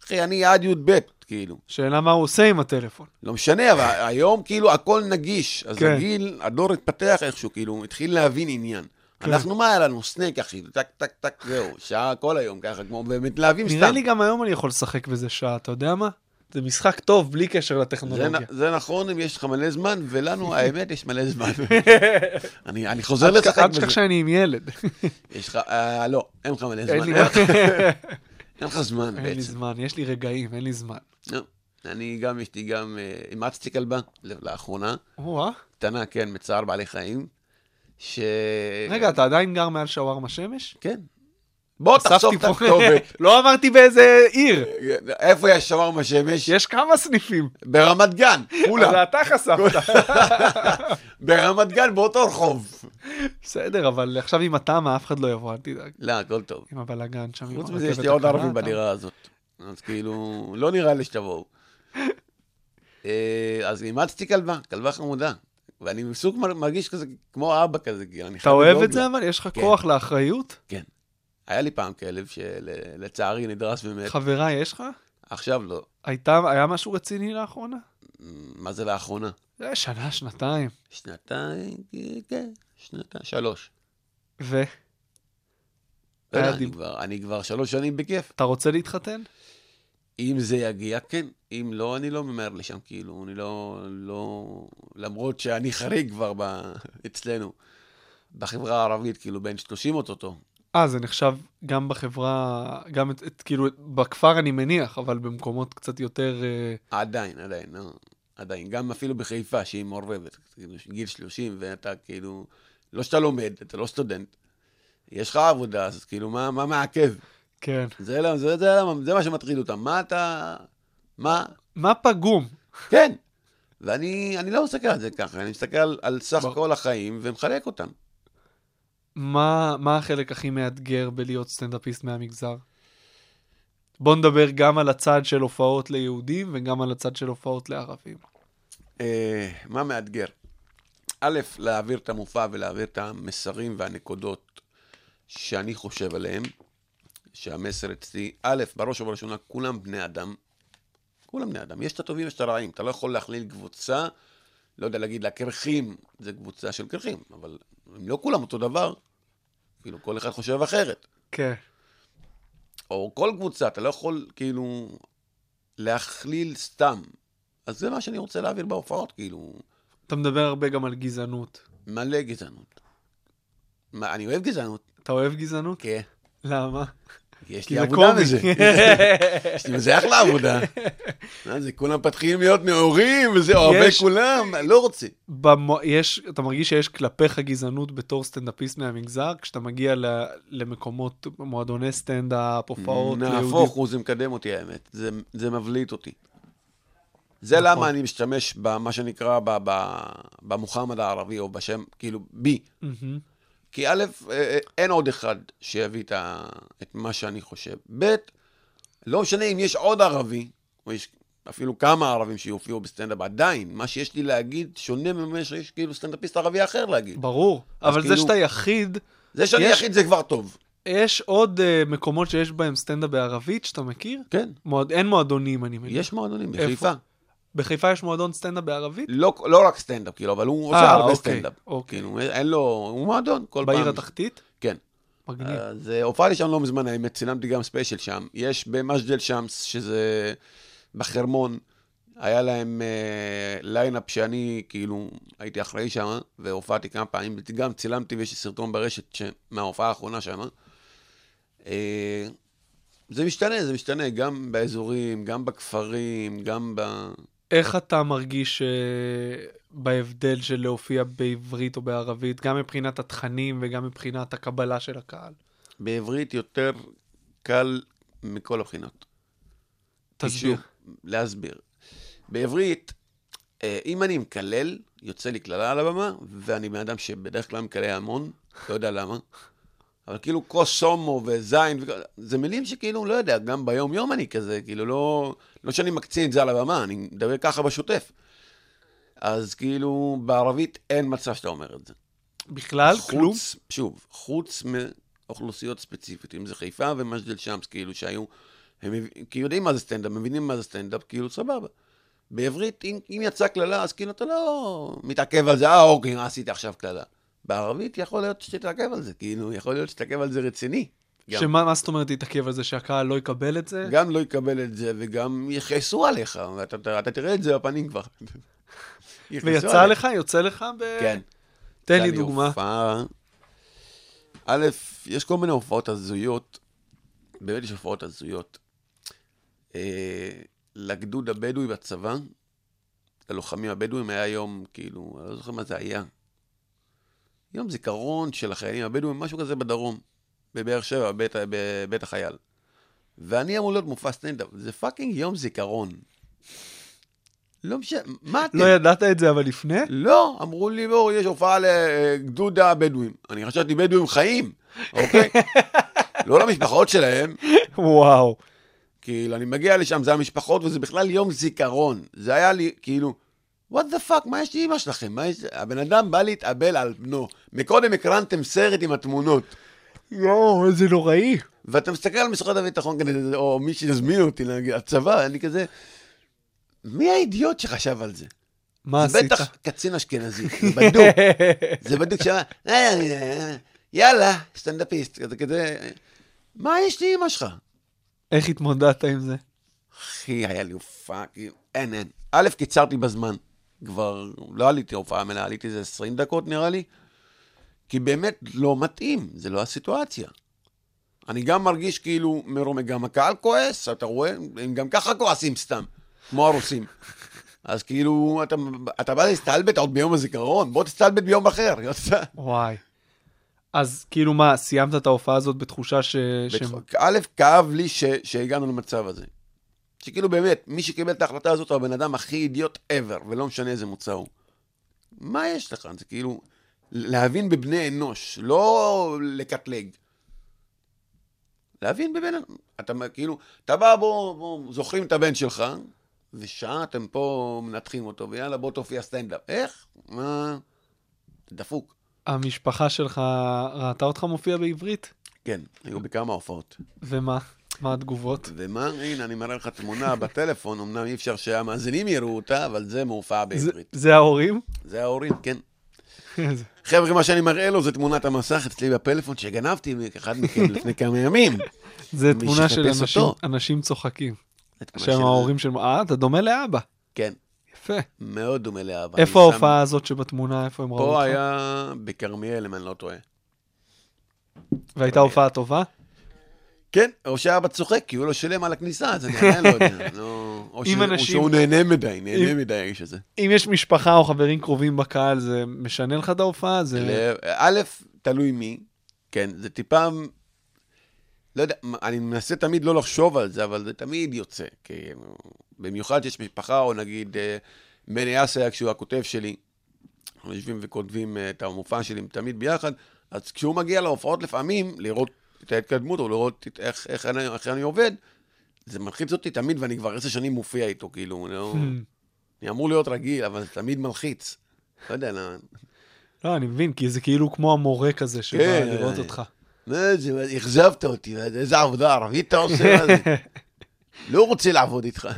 [SPEAKER 6] אחי, אני עד י"ב, כאילו.
[SPEAKER 4] שאלה מה הוא עושה עם הטלפון.
[SPEAKER 6] לא משנה, אבל היום כאילו הכל נגיש. אז
[SPEAKER 4] כן.
[SPEAKER 6] כן. הגיל, הדור התפתח איכשהו, כאילו, הוא התחיל להבין עניין.
[SPEAKER 4] כן.
[SPEAKER 6] כן. אנחנו, מה היה לנו? סנק, אחי, טק, טק, טק, זהו, שעה כל היום ככה, כמו מתלהבים סתם.
[SPEAKER 4] נראה לי גם היום אני יכול לשחק בזה שעה, אתה יודע מה? זה משחק טוב, בלי קשר
[SPEAKER 6] זה,
[SPEAKER 4] לטכנולוגיה.
[SPEAKER 6] נ- זה נכון אם יש לך מלא זמן, ולנו, האמת, יש מלא זמן. אני, אני חוזר
[SPEAKER 4] אל תשכח-
[SPEAKER 6] לשחק
[SPEAKER 4] אל
[SPEAKER 6] בזה.
[SPEAKER 4] תשכח שאני עם ילד.
[SPEAKER 6] יש לך, אה, לא, אין לך מלא
[SPEAKER 4] אין לי
[SPEAKER 6] זמן. אין לך- אין לך זמן
[SPEAKER 4] אין לי
[SPEAKER 6] בעצם.
[SPEAKER 4] זמן, יש לי רגעים, אין לי זמן.
[SPEAKER 6] לא. אני גם, יש לי גם, אה, אימצתי כלבה לאחרונה,
[SPEAKER 4] או-אה.
[SPEAKER 6] קטנה, כן, מצער בעלי חיים, ש...
[SPEAKER 4] אה. רגע, אתה עדיין גר מעל שווארמה שמש?
[SPEAKER 6] כן. בוא תחשוף
[SPEAKER 4] אספתי
[SPEAKER 6] את
[SPEAKER 4] פה-
[SPEAKER 6] הכתובת.
[SPEAKER 4] לא אמרתי באיזה עיר.
[SPEAKER 6] איפה יש שווארמה שמש?
[SPEAKER 4] יש כמה סניפים.
[SPEAKER 6] ברמת גן,
[SPEAKER 4] אז
[SPEAKER 6] כולה.
[SPEAKER 4] אתה חשפת.
[SPEAKER 6] ברמת גן באותו רחוב.
[SPEAKER 4] בסדר, אבל עכשיו עם התמה אף אחד לא יבוא, אל תדאג.
[SPEAKER 6] לא, הכל טוב.
[SPEAKER 4] עם הבלאגן שם. עם
[SPEAKER 6] חוץ מזה
[SPEAKER 4] הרכבת
[SPEAKER 6] יש לי עוד
[SPEAKER 4] הקלה,
[SPEAKER 6] ערבים
[SPEAKER 4] אתה-
[SPEAKER 6] בדירה הזאת. אז כאילו, לא נראה לי שתבואו. אה, אז אימצתי כלבה, כלבה חמודה. ואני בסוג מר- מרגיש כזה, כמו אבא כזה, כאילו, אני
[SPEAKER 4] אתה
[SPEAKER 6] חייב
[SPEAKER 4] אוהב
[SPEAKER 6] לדאוג
[SPEAKER 4] את זה
[SPEAKER 6] לה.
[SPEAKER 4] אבל? יש לך
[SPEAKER 6] כן.
[SPEAKER 4] כוח לאחריות?
[SPEAKER 6] היה לי פעם כלב שלצערי נדרס ומת,
[SPEAKER 4] חברה יש לך?
[SPEAKER 6] עכשיו לא.
[SPEAKER 4] הייתה, היה משהו רציני לאחרונה?
[SPEAKER 6] מה זה לאחרונה?
[SPEAKER 4] זה היה שנה, שנתיים.
[SPEAKER 6] שנתיים, כן, שנתיים, שלוש.
[SPEAKER 4] ו?
[SPEAKER 6] לא יודע,
[SPEAKER 4] היה
[SPEAKER 6] אני
[SPEAKER 4] דיב-
[SPEAKER 6] כבר- אני כבר שלוש שנים בכיף.
[SPEAKER 4] אתה רוצה להתחתן?
[SPEAKER 6] אם זה יגיע, כן. אם לא, אני לא ממהר לשם, כאילו, אני לא... לא... למרות שאני חריג כבר ב... אצלנו, בחברה הערבית, כאילו, בין 30 אוטוטו.
[SPEAKER 4] אה, זה נחשב גם בחברה, גם את, את, כאילו, בכפר אני מניח, אבל במקומות קצת יותר... אה,
[SPEAKER 6] עדיין, עדיין, לא. עדיין. גם אפילו בחיפה, שהיא מעורבבת. כאילו, גיל 30, ואתה כאילו... לא שאתה לומד, אתה לא סטודנט. יש לך עבודה, אז כאילו, מה, מה מעכב?
[SPEAKER 4] כן.
[SPEAKER 6] זה, למה- זה, זה, למה- זה מה שמטריד אותם. מה אתה... מה,
[SPEAKER 4] מה פגום?
[SPEAKER 6] כן. ואני אני לא מסתכל על זה ככה, אני מסתכל על סך
[SPEAKER 4] ברור.
[SPEAKER 6] כל החיים ומחלק אותם.
[SPEAKER 4] מה, מה החלק הכי מאתגר בלהיות סטנדאפיסט מהמגזר? בוא נדבר גם על הצד של הופעות ליהודים וגם על הצד של הופעות לערבים.
[SPEAKER 6] אה, מה מאתגר? א', להעביר את המופע ולהעביר את המסרים והנקודות שאני חושב עליהם, שהמסר אצלי, א', בראש ובראשונה, כולם בני אדם. כולם בני אדם. יש את הטובים, יש את הרעים. אתה לא יכול להכליל קבוצה, לא יודע להגיד לה קרחים, זה קבוצה של קרחים, אבל אם לא כולם אותו דבר, כאילו כל אחד חושב אחרת.
[SPEAKER 4] כן.
[SPEAKER 6] או כל קבוצה, אתה לא יכול כאילו להכליל סתם. אז זה מה שאני רוצה להעביר בהופעות, כאילו,
[SPEAKER 4] אתה מדבר הרבה גם על גזענות.
[SPEAKER 6] מלא גזענות. מה, אני אוהב גזענות.
[SPEAKER 4] אתה אוהב גזענות?
[SPEAKER 6] כן.
[SPEAKER 4] למה?
[SPEAKER 6] יש
[SPEAKER 4] כי
[SPEAKER 6] לי
[SPEAKER 4] זה
[SPEAKER 6] עבודה
[SPEAKER 4] קומי.
[SPEAKER 6] מזה. יש לי מזה אחלה עבודה. מה זה, כולם מתחילים להיות נאורים, וזה אוהבי
[SPEAKER 4] יש-
[SPEAKER 6] כולם, אני לא רוצה.
[SPEAKER 4] במו... יש, אתה מרגיש שיש כלפיך גזענות בתור סטנדאפיסט מהמגזר, כשאתה מגיע ל... למקומות, מועדוני סטנדאפ, הופעות ליהודים.
[SPEAKER 6] נהפוך הוא, זה מקדם אותי האמת, זה, זה מבליט אותי. זה
[SPEAKER 4] נכון.
[SPEAKER 6] למה אני משתמש במה שנקרא ב, ב, במוחמד הערבי, או בשם, כאילו, בי.
[SPEAKER 4] מהמם.
[SPEAKER 6] כי א', אה, אה, אין עוד אחד שיביא את, ה, את מה שאני חושב. ב', לא משנה אם יש עוד ערבי, או יש אפילו כמה ערבים שיופיעו בסטנדאפ, עדיין, מה שיש לי להגיד שונה ממה שיש כאילו סטנדאפיסט ערבי אחר להגיד.
[SPEAKER 4] ברור, אבל זה
[SPEAKER 6] כאילו-
[SPEAKER 4] שאתה יחיד,
[SPEAKER 6] זה שאני
[SPEAKER 4] יש-
[SPEAKER 6] יחיד זה כבר טוב.
[SPEAKER 4] יש עוד uh, מקומות שיש בהם סטנדאפ בערבית שאתה מכיר?
[SPEAKER 6] כן,
[SPEAKER 4] מועד... אין מועדונים, אני מבין.
[SPEAKER 6] יש מועדונים
[SPEAKER 4] איפה?
[SPEAKER 6] בחיפה.
[SPEAKER 4] בחיפה יש מועדון סטנדאפ בערבית?
[SPEAKER 6] לא, לא רק סטנדאפ, כאילו, אבל הוא עושה
[SPEAKER 4] אה,
[SPEAKER 6] הרבה
[SPEAKER 4] אוקיי,
[SPEAKER 6] סטנדאפ.
[SPEAKER 4] אוקיי.
[SPEAKER 6] כאילו, אין לו, הוא מועדון כל פעם.
[SPEAKER 4] בעיר התחתית?
[SPEAKER 6] כן.
[SPEAKER 4] מגניב.
[SPEAKER 6] אז אה, הופעתי שם לא מזמן, האמת, צילמתי גם ספיישל שם. יש במג'דל שמס, שזה בחרמון, היה להם אה, ליינאפ שאני, כאילו, הייתי אחראי שם, והופעתי כמה פעמים, גם צילמתי ויש לי סרטון ברשת ש... מההופעה האחרונה שם. אה, זה משתנה, זה משתנה, גם באזורים, גם בכפרים, גם ב...
[SPEAKER 4] איך אתה מרגיש uh, בהבדל של להופיע בעברית או בערבית, גם מבחינת התכנים וגם מבחינת הקבלה של הקהל?
[SPEAKER 6] בעברית יותר קל מכל הבחינות.
[SPEAKER 4] תסביר.
[SPEAKER 6] שוב, להסביר. בעברית, אה, אם אני מקלל, יוצא לי קללה על הבמה, ואני בן אדם שבדרך כלל מקלל המון, לא יודע למה. אבל כאילו כוס הומו וזין, וכל- זה מילים שכאילו, לא יודע, גם ביום-יום אני כזה, כאילו לא... לא שאני מקצין את זה על הבמה, אני מדבר ככה בשוטף. אז כאילו, בערבית אין מצב שאתה אומר את זה.
[SPEAKER 4] בכלל, כלום?
[SPEAKER 6] חוץ, שוב, חוץ מאוכלוסיות ספציפית, אם זה חיפה ומג'דל שמס, כאילו שהיו, הם מב- כי יודעים מה זה סטנדאפ, מבינים מה זה סטנדאפ, כאילו סבבה. בעברית, אם, אם יצאה קללה, אז כאילו אתה לא מתעכב על זה, אה אוקיי, מה עשית עכשיו קללה? בערבית יכול להיות שתתעכב על זה, כאילו, יכול להיות שתתעכב על זה רציני. גם,
[SPEAKER 4] שמה מה זאת אומרת להתעכב על זה שהקהל לא יקבל את זה?
[SPEAKER 6] גם לא יקבל את זה, וגם יכעסו עליך, ואתה אתה- אתה תראה את זה בפנים כבר. יכעסו
[SPEAKER 4] ויצא
[SPEAKER 6] עליך.
[SPEAKER 4] לך, יוצא לך ב...
[SPEAKER 6] כן.
[SPEAKER 4] תן לי
[SPEAKER 6] הייתה
[SPEAKER 4] דוגמה.
[SPEAKER 6] הופעה. א', יש כל מיני הופעות הזויות, באמת יש הופעות הזויות. אה, לגדוד הבדואי בצבא, ללוחמים הבדואים, היה יום, כאילו, אני לא זוכר מה זה היה. יום זיכרון של החיילים הבדואים, משהו כזה בדרום, בבאר שבע, בית, בבית החייל. ואני אמור להיות מופע סטנדאפ, זה פאקינג יום זיכרון. לא משנה, מה אתם?
[SPEAKER 4] לא ידעת את זה אבל לפני?
[SPEAKER 6] לא, אמרו לי, בואו, יש הופעה לגדוד הבדואים. אני חשבתי בדואים חיים, אוקיי? לא למשפחות שלהם,
[SPEAKER 4] וואו.
[SPEAKER 6] כאילו, אני מגיע לשם, זה המשפחות, וזה בכלל יום זיכרון. זה היה לי, כאילו, what the fuck, מה יש לאמא שלכם? מה יש... הבן אדם בא להתאבל על בנו. מקודם הקרנתם סרט עם התמונות,
[SPEAKER 4] יואו, איזה נוראי.
[SPEAKER 6] ואתה מסתכל על משרד הביטחון, כזה, או מי שיזמין אותי, נגיד, הצבא, אני כזה... מי האידיוט שחשב על זה?
[SPEAKER 4] מה
[SPEAKER 6] זה
[SPEAKER 4] עשית?
[SPEAKER 6] בטח קצין אשכנזי, זה בדוק. זה בדיוק שמה, "אה, אה, אה, יאללה, סטנדאפיסט, כזה כזה, מה יש לי אמא שלך?
[SPEAKER 4] איך התמודדת עם זה?
[SPEAKER 6] אחי, היה לי הופעה, כאילו, אין, אין. א', קיצרתי בזמן, כבר לא עליתי הופעה מלאה, עליתי איזה 20 דקות נראה לי, כי באמת לא מתאים, זה לא הסיטואציה. אני גם מרגיש כאילו, מרומם, גם הקהל כועס, אתה רואה, הם גם ככה כועסים סתם, כמו הרוסים. אז כאילו, אתה, אתה בא להסתלבט עוד ביום הזיכרון, בוא תסתלבט ביום אחר, יוצא.
[SPEAKER 4] וואי. אז כאילו מה, סיימת את ההופעה הזאת בתחושה ש... ש-
[SPEAKER 6] בטח- א', כאב לי ש, שהגענו למצב הזה. שכאילו באמת, מי שקיבל את ההחלטה הזאת הוא הבן אדם הכי אידיוט ever, ולא משנה איזה מוצא הוא. מה יש לך? זה כאילו, להבין בבני אנוש, לא לקטלג. להבין בבין... אתה מ- כאילו, אתה בא, בוא, בוא, זוכרים את הבן שלך, ושעה אתם פה מנתחים אותו, ויאללה, בוא תופיע סטנדאפ. איך? מה? דפוק.
[SPEAKER 4] המשפחה שלך ראתה אותך מופיע בעברית?
[SPEAKER 6] כן, היו בכמה הופעות.
[SPEAKER 4] ומה? מה התגובות?
[SPEAKER 6] ומה, הנה, אני מראה לך תמונה בטלפון, אמנם אי אפשר שהמאזינים יראו אותה, אבל זה מהופעה
[SPEAKER 4] זה-
[SPEAKER 6] בעברית.
[SPEAKER 4] זה ההורים?
[SPEAKER 6] זה ההורים, כן. חבר'ה, מה שאני מראה לו זה תמונת המסך אצלי בפלאפון שגנבתי מאחד מכם לפני כמה ימים.
[SPEAKER 4] זה
[SPEAKER 6] מי
[SPEAKER 4] תמונה של
[SPEAKER 6] שיחפש
[SPEAKER 4] אנשים-
[SPEAKER 6] אותו.
[SPEAKER 4] אנשים צוחקים.
[SPEAKER 6] זה תמונה
[SPEAKER 4] שם
[SPEAKER 6] של-
[SPEAKER 4] ההורים של... אה, אתה דומה לאבא.
[SPEAKER 6] כן,
[SPEAKER 4] יפה.
[SPEAKER 6] מאוד דומה לאבא.
[SPEAKER 4] איפה
[SPEAKER 6] אני שם-
[SPEAKER 4] ההופעה הזאת שבתמונה, איפה הם ראו אותך?
[SPEAKER 6] פה היה בכרמיאל, אם אני לא טועה.
[SPEAKER 4] והייתה הופעה טובה?
[SPEAKER 6] כן, או שאבא צוחק, כי הוא לא שילם על הכניסה, אז אני עדיין לא יודע. לא- או
[SPEAKER 4] אם
[SPEAKER 6] ש- או
[SPEAKER 4] אנשים-
[SPEAKER 6] שהוא נהנה מדי,
[SPEAKER 4] אם-
[SPEAKER 6] נהנה מדי האיש הזה.
[SPEAKER 4] אם יש משפחה או חברים קרובים בקהל, זה משנה לך את ההופעה? זה...
[SPEAKER 6] ל- א', תלוי מי, כן, זה טיפה, לא יודע, מ- אני מנסה תמיד לא לחשוב על זה, אבל זה תמיד יוצא, כאילו, במיוחד שיש משפחה, או נגיד אה, מני אסייג, שהוא הכותב שלי, אנחנו יושבים וכותבים אה, את המופע שלי תמיד ביחד, אז כשהוא מגיע להופעות לפעמים, לראות את ההתקדמות, או לראות את, איך, איך, אני, איך אני עובד, זה מלחיץ אותי תמיד, ואני כבר עשר שנים מופיע איתו, כאילו, לא, אני אמור להיות רגיל, אבל זה תמיד מלחיץ. לא יודע, לא,
[SPEAKER 4] לא, אני מבין, כי זה כאילו כמו המורה כזה שבא
[SPEAKER 6] כן,
[SPEAKER 4] לראות
[SPEAKER 6] אה,
[SPEAKER 4] אותך.
[SPEAKER 6] מה זה, מה זה, אכזבת אותי, מה זה, איזה עבודה ערבית אתה עושה? מה זה? לא רוצה לעבוד איתך.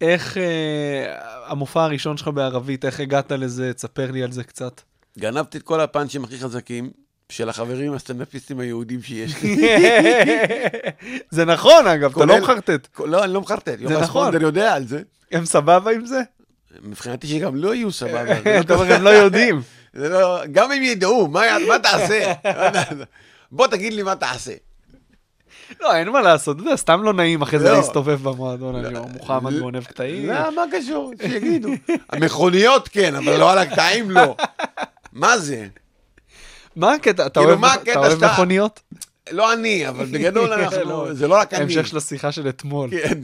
[SPEAKER 4] איך אה, המופע הראשון שלך בערבית, איך הגעת לזה? תספר לי על זה קצת.
[SPEAKER 6] גנבתי את כל הפאנצ'ים הכי חזקים של החברים הסטנדאפיסטים היהודים שיש לי.
[SPEAKER 4] זה נכון, אגב, אתה לא
[SPEAKER 6] כולל-
[SPEAKER 4] מחרטט.
[SPEAKER 6] לא, אני לא מחרטט, יוחנן
[SPEAKER 4] נכון.
[SPEAKER 6] ספונדר יודע על זה.
[SPEAKER 4] הם סבבה עם זה?
[SPEAKER 6] מבחינתי שגם לא יהיו סבבה. זה לא
[SPEAKER 4] אתה אומר,
[SPEAKER 6] טוב.
[SPEAKER 4] הם לא יודעים.
[SPEAKER 6] זה לא- גם אם ידעו, מה מה תעשה? בוא תגיד לי מה תעשה.
[SPEAKER 4] לא, אין מה לעשות, אתה יודע, סתם לא נעים אחרי זה
[SPEAKER 6] לא.
[SPEAKER 4] להסתובב במועדון, אני אומר, מוחמד
[SPEAKER 6] לא.
[SPEAKER 4] גונב קטעים.
[SPEAKER 6] לא, מה קשור? שיגידו. המכוניות כן, אבל לא על הקטעים לא. מה זה?
[SPEAKER 4] מה הקטע? אתה
[SPEAKER 6] כאילו,
[SPEAKER 4] אוהב
[SPEAKER 6] מה
[SPEAKER 4] מכ-
[SPEAKER 6] הקטע
[SPEAKER 4] אתה אוהב
[SPEAKER 6] שאתה-
[SPEAKER 4] מכוניות?
[SPEAKER 6] לא אני, אבל בגדול
[SPEAKER 4] לא.
[SPEAKER 6] אנחנו, זה לא רק אני.
[SPEAKER 4] ההמשך של השיחה של אתמול.
[SPEAKER 6] כן.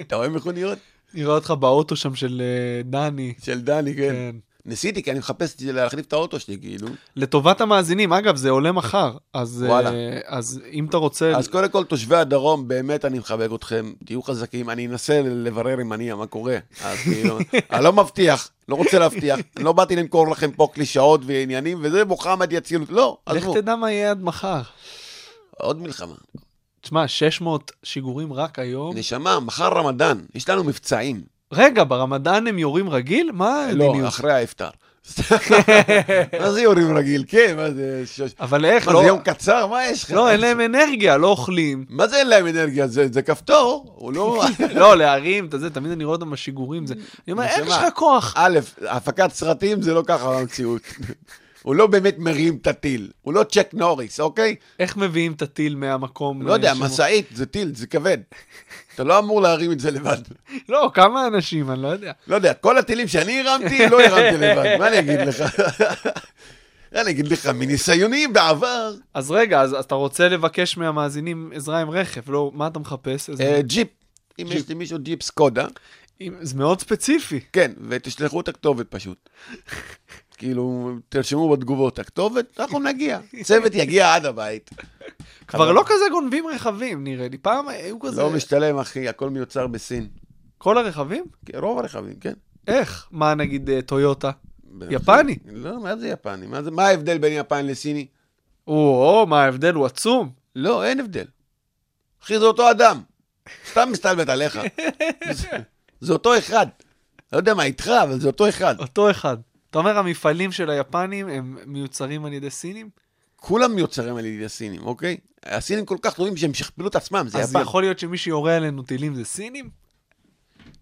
[SPEAKER 6] אתה רואה מכוניות?
[SPEAKER 4] נראה אותך באוטו שם של אה, דני.
[SPEAKER 6] של דני, כן.
[SPEAKER 4] כן.
[SPEAKER 6] ניסיתי, כי אני מחפש להחליף את האוטו שלי, כאילו.
[SPEAKER 4] לטובת המאזינים, אגב, זה עולה מחר. אז, אה,
[SPEAKER 6] וואלה.
[SPEAKER 4] אז אם אתה רוצה...
[SPEAKER 6] אז קודם כל, תושבי הדרום, באמת אני מחבק אתכם, תהיו חזקים. אני אנסה לברר עם הנייה מה קורה. אז כאילו, אני לא מבטיח, לא רוצה להבטיח. אני לא באתי למכור לכם פה קלישאות ועניינים, וזה מוחמד יציל אותי. לא,
[SPEAKER 4] לך
[SPEAKER 6] עזבו.
[SPEAKER 4] תדע מה יהיה עד מחר.
[SPEAKER 6] עוד מלחמה.
[SPEAKER 4] תשמע, 600 שיגורים רק היום.
[SPEAKER 6] נשמה, מחר רמדאן, יש לנו מבצעים.
[SPEAKER 4] רגע, ברמדאן הם יורים רגיל? מה
[SPEAKER 6] לא,
[SPEAKER 4] המדיניות?
[SPEAKER 6] אחרי האפטר. מה זה יורים רגיל? כן, מה זה... ש-
[SPEAKER 4] אבל איך?
[SPEAKER 6] מה
[SPEAKER 4] לא-
[SPEAKER 6] זה יום קצר? מה יש לך?
[SPEAKER 4] לא, אין להם אנרגיה, לא אוכלים.
[SPEAKER 6] מה זה אין להם אנרגיה? זה, זה כפתור, הוא לא...
[SPEAKER 4] לא, להרים, אתה זה, תמיד אני רואה אותם בשיגורים. זה- אני אומר, איך יש
[SPEAKER 6] נשמה,
[SPEAKER 4] לך כוח?
[SPEAKER 6] א', הפקת סרטים זה לא ככה במציאות. הוא לא באמת מרים את הטיל, הוא לא צ'ק נוריס, אוקיי?
[SPEAKER 4] איך מביאים את הטיל מהמקום?
[SPEAKER 6] לא יודע,
[SPEAKER 4] אה, שמו-
[SPEAKER 6] משאית זה טיל, זה כבד. אתה לא אמור להרים את זה לבד.
[SPEAKER 4] לא, כמה אנשים, אני לא יודע.
[SPEAKER 6] לא יודע, כל הטילים שאני הרמתי, לא הרמתי לבד, מה אני אגיד לך? מה אני אגיד לך, מניסיוני בעבר,
[SPEAKER 4] אז רגע, אז אז אתה רוצה לבקש מהמאזינים עזרה עם רכב, לא, מה אתה מחפש? איזה-
[SPEAKER 6] אה, ג'יפ. אם יש לי מישהו ג'יפ סקודה,
[SPEAKER 4] אם- זה מאוד ספציפי.
[SPEAKER 6] כן, ותשלחו את הכתובת פשוט. כאילו, תרשמו בתגובות, הכתובת, אנחנו נגיע. צוות יגיע עד הבית.
[SPEAKER 4] כבר לא כזה גונבים רכבים, נראה לי. פעם היו כזה...
[SPEAKER 6] לא משתלם, אחי, הכל מיוצר בסין.
[SPEAKER 4] כל הרכבים?
[SPEAKER 6] כן, רוב הרכבים, כן.
[SPEAKER 4] איך? מה נגיד אה, טויוטה? יפני.
[SPEAKER 6] לא, מה זה יפני? מה זה- מה ההבדל בין יפן לסיני?
[SPEAKER 4] או, מה ההבדל הוא עצום.
[SPEAKER 6] לא, אין הבדל. אחי, זה אותו אדם. סתם מסתלבט עליך. זה- זה אותו אחד. לא יודע מה איתך, אבל זה אותו אחד.
[SPEAKER 4] אותו אחד. אתה אומר, המפעלים של היפנים הם מיוצרים על ידי סינים?
[SPEAKER 6] כולם מיוצרים על ידי הסינים, אוקיי? הסינים כל כך טובים שהם שכפלו את עצמם, זה
[SPEAKER 4] אז
[SPEAKER 6] יפן.
[SPEAKER 4] יכול להיות שמי שיורה עלינו טילים זה סינים?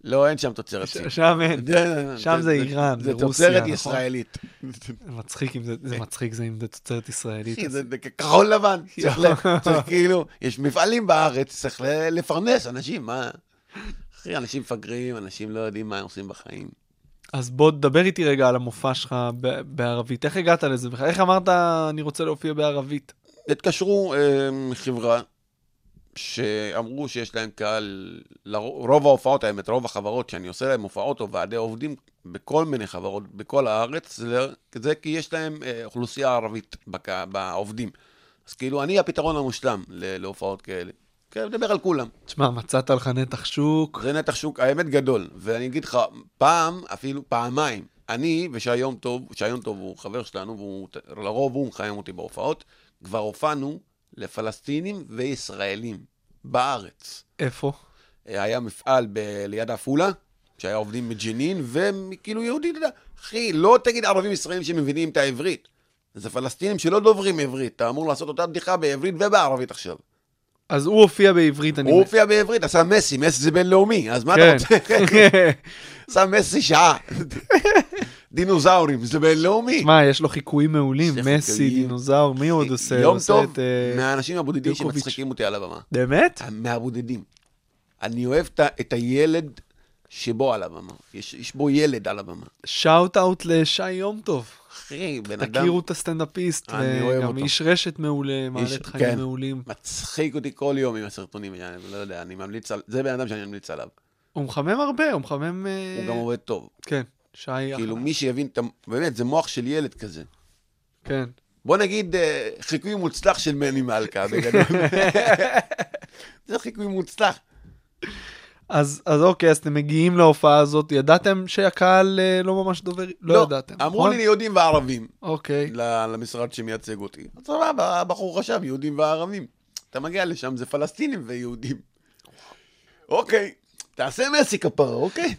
[SPEAKER 6] לא, אין שם תוצרת
[SPEAKER 4] ש-
[SPEAKER 6] סינית.
[SPEAKER 4] שם אין.
[SPEAKER 6] כן, זה-
[SPEAKER 4] כן, שם זה איראן,
[SPEAKER 6] זה
[SPEAKER 4] ורוסיה,
[SPEAKER 6] תוצרת
[SPEAKER 4] נכון?
[SPEAKER 6] ישראלית.
[SPEAKER 4] זה מצחיק אם זה, זה מצחיק זה אם זה תוצרת ישראלית.
[SPEAKER 6] אה. אחי, זה זה כחול לבן. צריך ל- צריך כאילו, יש מפעלים בארץ, צריך ל- לפרנס אנשים, מה? אחי, אנשים מפגרים, אנשים לא יודעים מה הם עושים בחיים.
[SPEAKER 4] אז בוא תדבר איתי רגע על המופע שלך ב- בערבית. איך הגעת לזה בכלל? איך אמרת אני רוצה להופיע בערבית?
[SPEAKER 6] התקשרו אה, מחברה שאמרו שיש להם קהל, לרוב- רוב ההופעות, האמת, רוב החברות שאני עושה להם הופעות או ועדי עובדים בכל מיני חברות בכל הארץ, זה, זה כי יש להם אה, אוכלוסייה ערבית בק, בעובדים. אז כאילו, אני הפתרון המושלם ל- להופעות כאלה. כן, אני מדבר על כולם.
[SPEAKER 4] תשמע, מצאת לך נתח שוק.
[SPEAKER 6] זה נתח שוק, האמת גדול. ואני אגיד לך, פעם, אפילו פעמיים, אני ושהיום טוב, שהיום טוב הוא חבר שלנו, והוא לרוב הוא מחיים אותי בהופעות, כבר הופענו לפלסטינים וישראלים בארץ.
[SPEAKER 4] איפה?
[SPEAKER 6] היה מפעל ב- ליד עפולה, שהיה עובדים מג'נין, וכאילו יהודי, אתה יודע, אחי, לא תגיד ערבים ישראלים שמבינים את העברית. זה פלסטינים שלא דוברים עברית, אתה אמור לעשות אותה בדיחה בעברית ובערבית עכשיו.
[SPEAKER 4] אז הוא הופיע בעברית, אני...
[SPEAKER 6] הוא הופיע בעברית, עשה מסי, מסי זה בינלאומי, אז מה אתה
[SPEAKER 4] כן.
[SPEAKER 6] רוצה? עשה מסי שעה. דינוזאורים, זה בינלאומי.
[SPEAKER 4] תשמע, יש לו חיקויים מעולים,
[SPEAKER 6] זה
[SPEAKER 4] מסי,
[SPEAKER 6] חיקויים.
[SPEAKER 4] דינוזאור, מי עוד עושה?
[SPEAKER 6] יום
[SPEAKER 4] עושה
[SPEAKER 6] טוב,
[SPEAKER 4] את, אה,
[SPEAKER 6] מהאנשים הבודדים
[SPEAKER 4] יוקוביץ'.
[SPEAKER 6] שמצחיקים אותי על הבמה.
[SPEAKER 4] באמת?
[SPEAKER 6] מהבודדים. אני אוהב את ה- את הילד שבו על הבמה. יש יש בו ילד על הבמה.
[SPEAKER 4] שאוט אאוט לשי יום טוב.
[SPEAKER 6] אחי, בן אדם...
[SPEAKER 4] תכירו את הסטנדאפיסט,
[SPEAKER 6] אני אוהב
[SPEAKER 4] וגם
[SPEAKER 6] אותו.
[SPEAKER 4] איש רשת מעולה, מעלה
[SPEAKER 6] איש-
[SPEAKER 4] תכנים
[SPEAKER 6] כן.
[SPEAKER 4] מעולים.
[SPEAKER 6] מצחיק אותי כל יום עם הסרטונים, אני לא יודע, אני ממליץ על... זה בן אדם שאני ממליץ עליו.
[SPEAKER 4] הוא מחמם הרבה, הוא מחמם... אה,
[SPEAKER 6] הוא גם עובד טוב.
[SPEAKER 4] כן, שי אחלה.
[SPEAKER 6] כאילו, מי שיבין את ה... באמת, זה מוח של ילד כזה.
[SPEAKER 4] כן.
[SPEAKER 6] בוא נגיד אה, חיקוי מוצלח של מני מלכה, בגדול. זה חיקוי מוצלח.
[SPEAKER 4] אז, אז אוקיי, אז אתם מגיעים להופעה הזאת, ידעתם שהקהל אה, לא ממש דובר, לא, ידעתם,
[SPEAKER 6] אמרו לי לא. יהודים וערבים
[SPEAKER 4] אוקיי,
[SPEAKER 6] ל- למשרד שמייצג אותי. אז סבבה, הבחור חשב, יהודים וערבים. אתה מגיע לשם, זה פלסטינים ויהודים. אוקיי, תעשה מסי כפרה, אוקיי?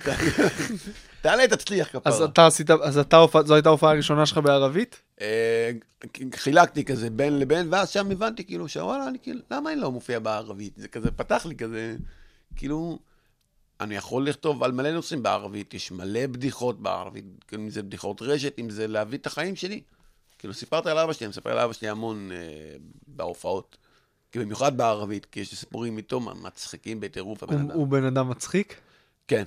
[SPEAKER 6] תעלה, תצליח כפרה.
[SPEAKER 4] אז אתה עשית, אז אתה, הופעה- זו הייתה ההופעה הראשונה שלך בערבית?
[SPEAKER 6] אה, חילקתי כזה בין לבין, ואז שם הבנתי כאילו שוואלה, אני כאילו, למה אני לא מופיע בערבית? זה כזה פתח לי כזה, כאילו, אני יכול לכתוב על מלא נושאים בערבית, יש מלא בדיחות בערבית, כאילו, אם זה בדיחות רשת, אם זה להביא את החיים שלי. כאילו, סיפרתי על אבא שלי, אני מספר על אבא שלי המון אה, בהופעות, כאילו, במיוחד בערבית, כי יש לי סיפורים איתו מצחיקים בטירוף הבן
[SPEAKER 4] הוא,
[SPEAKER 6] אדם.
[SPEAKER 4] הוא בן אדם מצחיק?
[SPEAKER 6] כן.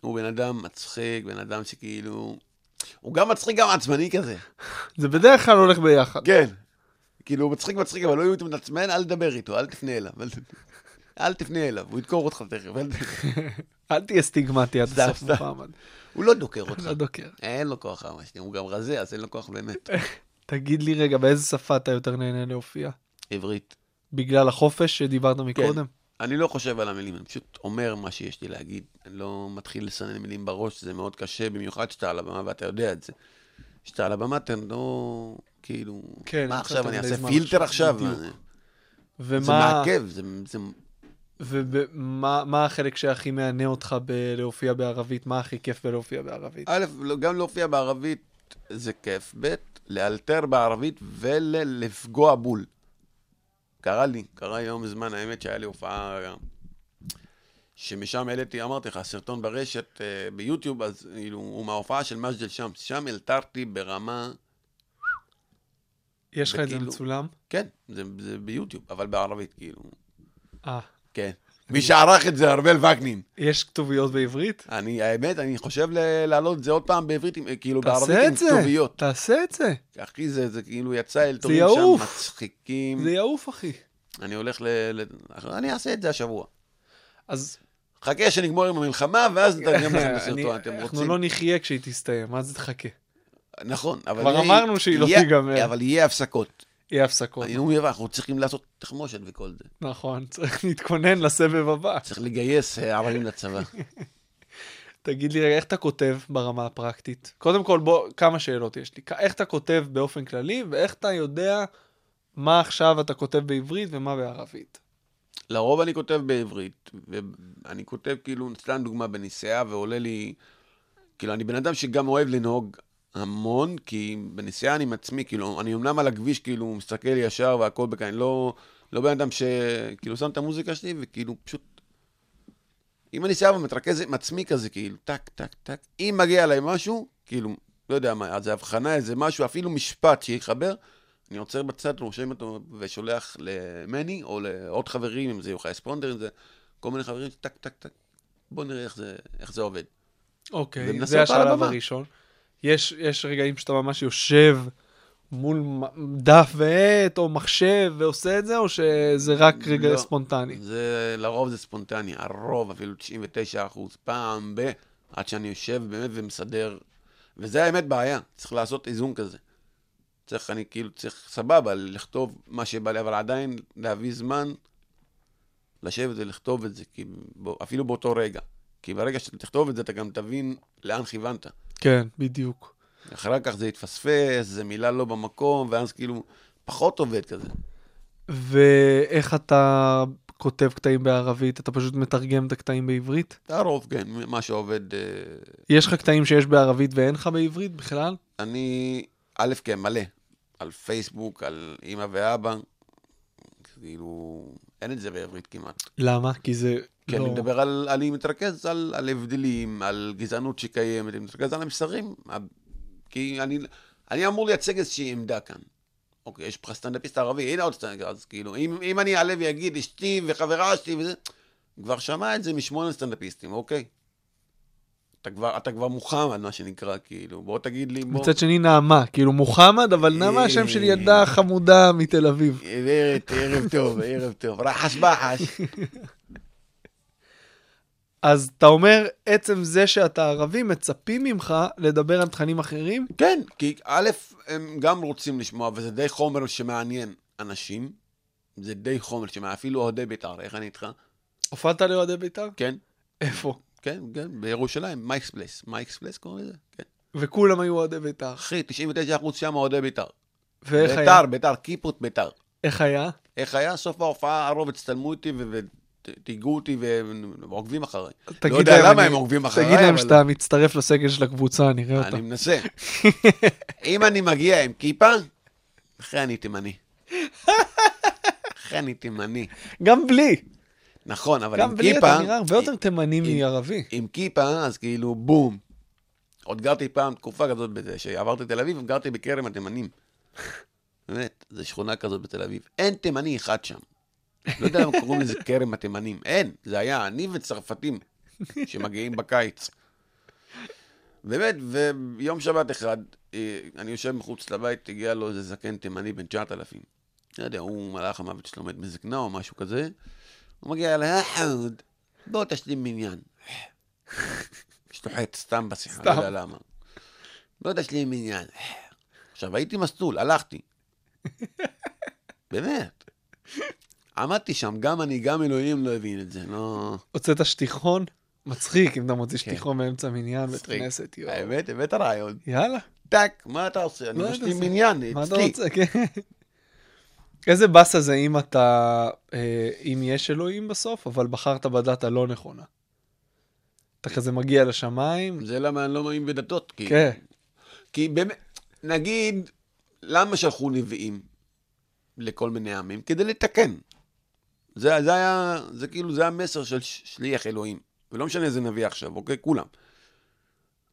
[SPEAKER 6] הוא בן אדם מצחיק, בן אדם שכאילו... הוא גם מצחיק, גם עצבני כזה.
[SPEAKER 4] זה בדרך כלל הולך ביחד.
[SPEAKER 6] כן. כאילו, הוא מצחיק, מצחיק, אבל לא יהיו מתעצמן, אל תדבר איתו, אל תפנה אליו. אל, אל תפנה אליו, הוא ידקור אותך תכף. אל, ת-
[SPEAKER 4] אל תהיה סטיגמטי עד
[SPEAKER 6] סתם,
[SPEAKER 4] הסוף
[SPEAKER 6] סתם.
[SPEAKER 4] מוחמד.
[SPEAKER 6] הוא לא דוקר אותך.
[SPEAKER 4] לא דוקר.
[SPEAKER 6] אין לו כוח אבא שלי, הוא גם רזה, אז אין לו כוח באמת.
[SPEAKER 4] תגיד לי רגע, באיזה שפה אתה יותר נהנה להופיע?
[SPEAKER 6] עברית.
[SPEAKER 4] בגלל החופש שדיברת
[SPEAKER 6] כן.
[SPEAKER 4] מקודם?
[SPEAKER 6] אני לא חושב על המילים, אני פשוט אומר מה שיש לי להגיד. אני לא מתחיל לסנן מילים בראש, זה מאוד קשה, במיוחד כשאתה על הבמה ואתה יודע את זה. כשאתה על הבמה אתה לא... כאילו...
[SPEAKER 4] כן,
[SPEAKER 6] מה
[SPEAKER 4] אתה
[SPEAKER 6] עכשיו,
[SPEAKER 4] נותן
[SPEAKER 6] אני
[SPEAKER 4] די
[SPEAKER 6] אעשה
[SPEAKER 4] זמן
[SPEAKER 6] פילטר
[SPEAKER 4] עכשיו,
[SPEAKER 6] עכשיו?
[SPEAKER 4] בדיוק.
[SPEAKER 6] זה- זה
[SPEAKER 4] ומה
[SPEAKER 6] מעכב, זה... זה-
[SPEAKER 4] ומה מה החלק שהכי מהנה אותך בלהופיע בערבית? מה הכי כיף בלהופיע בערבית?
[SPEAKER 6] א', לא- גם להופיע בערבית זה כיף, ב', לאלתר בערבית ולפגוע בול. קרה לי, קרה יום זמן, האמת שהיה לי הופעה אה, שמשם העליתי, אמרתי לך, סרטון ברשת אה, ביוטיוב, אז כאילו, הוא מההופעה של מג'דל שמס, שם אלתרתי ברמה,
[SPEAKER 4] יש לך את זה
[SPEAKER 6] וכאילו-
[SPEAKER 4] מצולם?
[SPEAKER 6] כן, זה, זה ביוטיוב, אבל בערבית, כאילו,
[SPEAKER 4] אה.
[SPEAKER 6] כן. מי שערך את זה, ארבל וקנין.
[SPEAKER 4] יש כתוביות בעברית?
[SPEAKER 6] אני, האמת, אני חושב ל- להעלות את זה עוד פעם בעברית, עם- כאילו, בערבית
[SPEAKER 4] תעשה
[SPEAKER 6] עם
[SPEAKER 4] את זה,
[SPEAKER 6] כתוביות.
[SPEAKER 4] תעשה את זה.
[SPEAKER 6] אחי, זה, זה כאילו יצא אל טובים
[SPEAKER 4] יעוף.
[SPEAKER 6] שם, מצחיקים.
[SPEAKER 4] זה יעוף, אחי.
[SPEAKER 6] אני הולך ל... ל... אני אעשה את זה השבוע.
[SPEAKER 4] אז
[SPEAKER 6] חכה שנגמור עם המלחמה, ואז נתרגם לכם
[SPEAKER 4] אני-
[SPEAKER 6] בסרטון, אתם
[SPEAKER 4] אנחנו
[SPEAKER 6] רוצים.
[SPEAKER 4] לא נחיה כשהיא תסתיים, אז תחכה.
[SPEAKER 6] נכון, אבל...
[SPEAKER 4] כבר
[SPEAKER 6] יהיה-
[SPEAKER 4] אמרנו שהיא לא
[SPEAKER 6] יהיה-
[SPEAKER 4] תיגמר. אוקיי.
[SPEAKER 6] אבל יהיה הפסקות.
[SPEAKER 4] יהיה הפסקות.
[SPEAKER 6] היינו מבין, אנחנו צריכים לעשות תחמושת וכל זה.
[SPEAKER 4] נכון, צריך להתכונן לסבב הבא.
[SPEAKER 6] צריך לגייס אה, ערבים לצבא.
[SPEAKER 4] תגיד לי רגע, איך אתה כותב ברמה הפרקטית? קודם כל, בוא, כמה שאלות יש לי. כ- איך אתה כותב באופן כללי, ואיך אתה יודע מה עכשיו אתה כותב בעברית ומה בערבית?
[SPEAKER 6] לרוב אני כותב בעברית, ואני כותב כאילו, סתם דוגמה בנסיעה, ועולה לי... כאילו, אני בן אדם שגם אוהב לנהוג המון, כי בנסיעה אני עם עצמי, כאילו, אני אמנם על הכביש, כאילו, מסתכל ישר והכל בכאן, אני לא, לא בן אדם שכאילו שם את המוזיקה שלי, וכאילו, פשוט... אם אני סייר ומתרכז עם עצמי כזה, כאילו, טק, טק, טק, אם מגיע אליי משהו, כאילו, לא יודע מה, איזה הבחנה, איזה משהו, אפילו משפט שיחבר, אני עוצר בצד, רושם אותו ושולח למני, או לעוד חברים, אם זה יוחאי ספונדר, אם זה כל מיני חברים, טק, טק, טק. בוא נראה איך זה, איך זה עובד.
[SPEAKER 4] אוקיי,
[SPEAKER 6] ומנסה
[SPEAKER 4] זה
[SPEAKER 6] אותה על
[SPEAKER 4] השלב
[SPEAKER 6] הבמה.
[SPEAKER 4] הראשון. יש, יש רגעים שאתה ממש יושב מול מ- דף ועט או מחשב ועושה את זה, או שזה רק רגע
[SPEAKER 6] לא.
[SPEAKER 4] ספונטני?
[SPEAKER 6] זה, לרוב זה ספונטני, הרוב, אפילו 99 אחוז, פעם ב... עד שאני יושב באמת ומסדר. וזה האמת בעיה, צריך לעשות איזון כזה. צריך, אני כאילו, צריך סבבה, לכתוב מה שבא לי, אבל עדיין להביא זמן לשבת ולכתוב את זה, כי בו, אפילו באותו רגע. כי ברגע שאתה תכתוב את זה, אתה גם תבין לאן כיוונת.
[SPEAKER 4] כן, בדיוק.
[SPEAKER 6] אחר כך זה יתפספס, זה מילה לא במקום, ואז כאילו, פחות עובד כזה.
[SPEAKER 4] ואיך אתה כותב קטעים בערבית? אתה פשוט מתרגם את הקטעים בעברית?
[SPEAKER 6] הרוב, כן, מה שעובד... אה,
[SPEAKER 4] יש לך קטעים שיש בערבית ואין לך בעברית בכלל?
[SPEAKER 6] אני, א', כן, מלא. על פייסבוק, על אימא ואבא. כאילו, אין את זה בעברית כמעט.
[SPEAKER 4] למה? כי זה
[SPEAKER 6] כי
[SPEAKER 4] לא...
[SPEAKER 6] אני מדבר על, אני מתרכז על, על הבדלים, על גזענות שקיימת, אני מתרכז על המסרים. ה- כי אני, אני אמור לייצג איזושהי עמדה כאן. אוקיי, יש לך סטנדאפיסט ערבי, הנה עוד סטנדאפיסט, אז כאילו, אם, אם אני אעלה ואגיד אשתי וחברה שלי וזה, כבר שמע את זה משמונה סטנדאפיסטים, אוקיי? אתה כבר, אתה כבר מוחמד, מה שנקרא, כאילו, בוא תגיד לי, בוא...
[SPEAKER 4] מצד שני נעמה, כאילו מוחמד, אבל נעמה השם של ילדה חמודה מתל אביב.
[SPEAKER 6] ערב, ערב טוב, ערב טוב, רחש בחש.
[SPEAKER 4] אז אתה אומר, עצם זה שאתה ערבי, מצפים ממך לדבר על תכנים אחרים?
[SPEAKER 6] כן, כי א', הם גם רוצים לשמוע, וזה די חומר שמעניין אנשים. זה די חומר שמעניין, אפילו אוהדי בית"ר, איך אני איתך?
[SPEAKER 4] הופעת לאוהדי בית"ר?
[SPEAKER 6] כן,
[SPEAKER 4] איפה?
[SPEAKER 6] כן, כן, בירושלים, מייקס פלייס. מייקס פלייס קוראים לזה? כן.
[SPEAKER 4] וכולם היו אוהדי בית"ר.
[SPEAKER 6] אחי, 99% שם אוהדי בית"ר.
[SPEAKER 4] ואיך היה?
[SPEAKER 6] בית"ר, לא בית"ר, קיפוט בית"ר.
[SPEAKER 4] איך היה?
[SPEAKER 6] איך היה? סוף ההופעה, הרוב הצטלמו איתי ו- ותיגעו אותי והם עוקבים אחריי.
[SPEAKER 4] תגיד
[SPEAKER 6] לא יודע
[SPEAKER 4] להם,
[SPEAKER 6] למה
[SPEAKER 4] אני-
[SPEAKER 6] הם עוקבים אחריי,
[SPEAKER 4] תגיד להם
[SPEAKER 6] אבל-
[SPEAKER 4] שאתה מצטרף לסגל של הקבוצה, נראה אותם.
[SPEAKER 6] אני מנסה. אם אני מגיע עם כיפה, אחי אני תימני. אחי אני תימני.
[SPEAKER 4] גם בלי.
[SPEAKER 6] נכון, אבל
[SPEAKER 4] גם
[SPEAKER 6] עם
[SPEAKER 4] בלי
[SPEAKER 6] כיפה...
[SPEAKER 4] אתה נראה הרבה יותר
[SPEAKER 6] עם-
[SPEAKER 4] תימני
[SPEAKER 6] עם-
[SPEAKER 4] מערבי.
[SPEAKER 6] עם כיפה, אז כאילו, בום. עוד גרתי פעם תקופה כזאת, בזה, שעברתי לתל אביב, גרתי בכרם התימנים. באמת, זו שכונה כזאת בתל אביב. אין תימני אחד שם. לא יודע למה קוראים לזה כרם התימנים. אין, זה היה אני וצרפתים שמגיעים בקיץ. באמת, ויום שבת אחד, אה, אני יושב מחוץ לבית, הגיע לו איזה זקן תימני בן 9,000. לא יודע, הוא מלאך המוות שלו מת מזקנה או משהו כזה. הוא מגיע אליי, "אה, חמוד, בוא תשלים מניין. שטוחט סתם בשיחה, לא יודע למה. בוא תשלים מניין. עכשיו, הייתי מסטול, הלכתי. באמת. עמדתי שם, גם אני, גם אלוהים לא הבין את זה, לא...
[SPEAKER 4] הוצאת שטיחון? מצחיק אם אתה מוציא
[SPEAKER 6] כן.
[SPEAKER 4] שטיחון באמצע מניין בית
[SPEAKER 6] מצחיק. אה.
[SPEAKER 4] כנסת, יואו.
[SPEAKER 6] האמת, הבאת רעיון.
[SPEAKER 4] יאללה,
[SPEAKER 6] טאק, מה אתה עושה? אני
[SPEAKER 4] מה אתה
[SPEAKER 6] משלים
[SPEAKER 4] עושה?
[SPEAKER 6] מניין,
[SPEAKER 4] מה אתה
[SPEAKER 6] אצלי.
[SPEAKER 4] רוצה? כן. איזה באסה זה אם אתה, אה, אם יש אלוהים בסוף, אבל בחרת בדת הלא נכונה. אתה כזה מגיע לשמיים,
[SPEAKER 6] זה למה אני לא מאמין בדתות, כי...
[SPEAKER 4] כן,
[SPEAKER 6] כי באמת, נגיד, למה שלחו נביאים לכל מיני עמים? כדי לתקן. זה, זה היה, זה כאילו, זה המסר של ש- שליח אלוהים. ולא משנה איזה נביא עכשיו, אוקיי? כולם.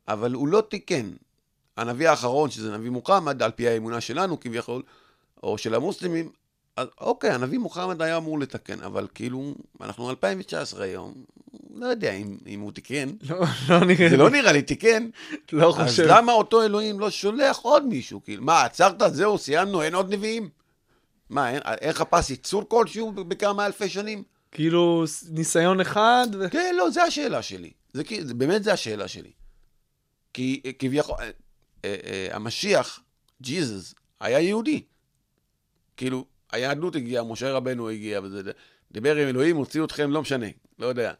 [SPEAKER 6] אבל הוא לא תיקן. הנביא האחרון, שזה נביא מוחמד, על פי האמונה שלנו כביכול, או של המוסלמים, אז אוקיי, הנביא מוחמד היה אמור לתקן, אבל כאילו, אנחנו 2019 היום, לא יודע אם, אם הוא תיקן.
[SPEAKER 4] לא לא נראה
[SPEAKER 6] זה
[SPEAKER 4] לי,
[SPEAKER 6] לא נראה לי תיקן.
[SPEAKER 4] לא
[SPEAKER 6] אז
[SPEAKER 4] חושב.
[SPEAKER 6] למה אותו אלוהים לא שולח עוד מישהו? כאילו, מה, עצרת, זהו, סיימנו, אין עוד נביאים? מה, אין- אין חפש ייצור כלשהו בכמה אלפי שנים?
[SPEAKER 4] כאילו ס- ניסיון אחד, ו-
[SPEAKER 6] כן, לא, זו השאלה שלי. זה כי- זה- באמת זו השאלה שלי. כי אה, כביכול, אה, אה, אה, המשיח, ג'יזוס, היה יהודי. כאילו, היהדות הגיעה, משה רבנו הגיע, וזה, זה- דיבר עם אלוהים, הוציאו אתכם, לא משנה, לא יודע.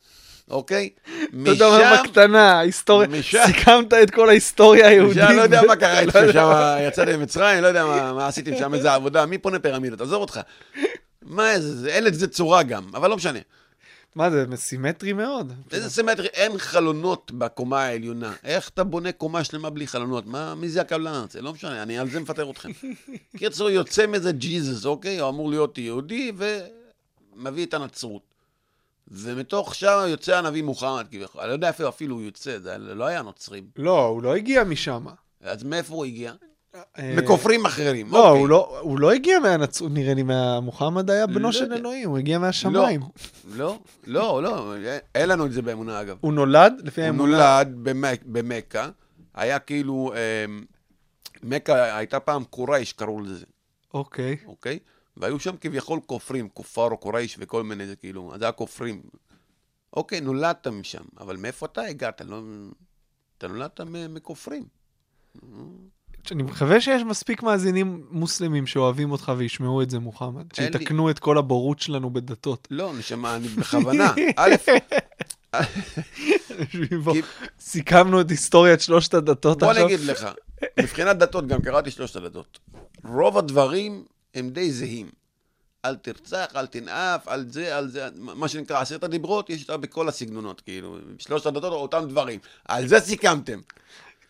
[SPEAKER 6] אוקיי?
[SPEAKER 4] אתה יודע מה בקטנה, ההיסטוריה,
[SPEAKER 6] משם-
[SPEAKER 4] סיכמת את כל ההיסטוריה היהודית.
[SPEAKER 6] אני לא יודע
[SPEAKER 4] ו-
[SPEAKER 6] מה קרה
[SPEAKER 4] לא
[SPEAKER 6] איתכם
[SPEAKER 4] יודע.
[SPEAKER 6] שם, יצאתם ממצרים, לא יודע מה- מה עשיתם שם, איזה עבודה, מי פונה פירמידות, עזוב אותך. מה זה, זה- אין לזה צורה גם, אבל לא משנה.
[SPEAKER 4] מה זה, סימטרי מאוד.
[SPEAKER 6] איזה סימטרי, אין חלונות בקומה העליונה. איך אתה בונה קומה שלמה בלי חלונות? מה, מי זה הקבלן הזה? לא משנה, אני על זה מפטר אתכם. קיצור, יוצא מזה ג'יזוס, אוקיי? הוא אמור להיות יהודי, ומביא את הנצרות. ומתוך שם יוצא הנביא מוחמד, כביכול. אני לא יודע איפה אפילו הוא יוצא, זה לא היה נוצרים.
[SPEAKER 4] לא, הוא לא הגיע משם.
[SPEAKER 6] אז מאיפה הוא הגיע?
[SPEAKER 4] אה,
[SPEAKER 6] מכופרים אחרים.
[SPEAKER 4] לא,
[SPEAKER 6] אוקיי.
[SPEAKER 4] הוא לא- הוא לא הגיע מהנצרות, נראה לי, מה- מוחמד היה
[SPEAKER 6] לא
[SPEAKER 4] בנו של
[SPEAKER 6] יודע.
[SPEAKER 4] אלוהים, הוא הגיע מהשמיים.
[SPEAKER 6] לא, לא, לא, אין לנו את זה באמונה, אגב.
[SPEAKER 4] הוא נולד, לפי
[SPEAKER 6] הוא
[SPEAKER 4] האמונה,
[SPEAKER 6] נולד במק- במכה, היה כאילו, אה, מכה הייתה פעם קורייש, קראו לזה,
[SPEAKER 4] אוקיי.
[SPEAKER 6] אוקיי? והיו שם כביכול כופרים, כופר או קורייש וכל מיני, זה כאילו, אז היה כופרים. אוקיי, נולדת משם, אבל מאיפה אתה הגעת? לא, אתה נולדת מ- מכופרים.
[SPEAKER 4] אני מקווה שיש מספיק מאזינים מוסלמים שאוהבים אותך וישמעו את זה, מוחמד.
[SPEAKER 6] אין לי-
[SPEAKER 4] שיתקנו את כל הבורות שלנו בדתות.
[SPEAKER 6] לא, נשמה, אני בכוונה. א',
[SPEAKER 4] יושבים פה.
[SPEAKER 6] כי-
[SPEAKER 4] סיכמנו את היסטוריית שלושת הדתות
[SPEAKER 6] בוא
[SPEAKER 4] עכשיו.
[SPEAKER 6] אני אגיד לך, מבחינת דתות, גם קראתי שלושת הדתות. רוב הדברים הם די זהים. אל תרצח, אל תנאף, על זה, על זה, מה שנקרא עשרת הדיברות, יש אותה בכל הסגנונות, כאילו, שלושת הדתות, אותם דברים. על זה סיכמתם.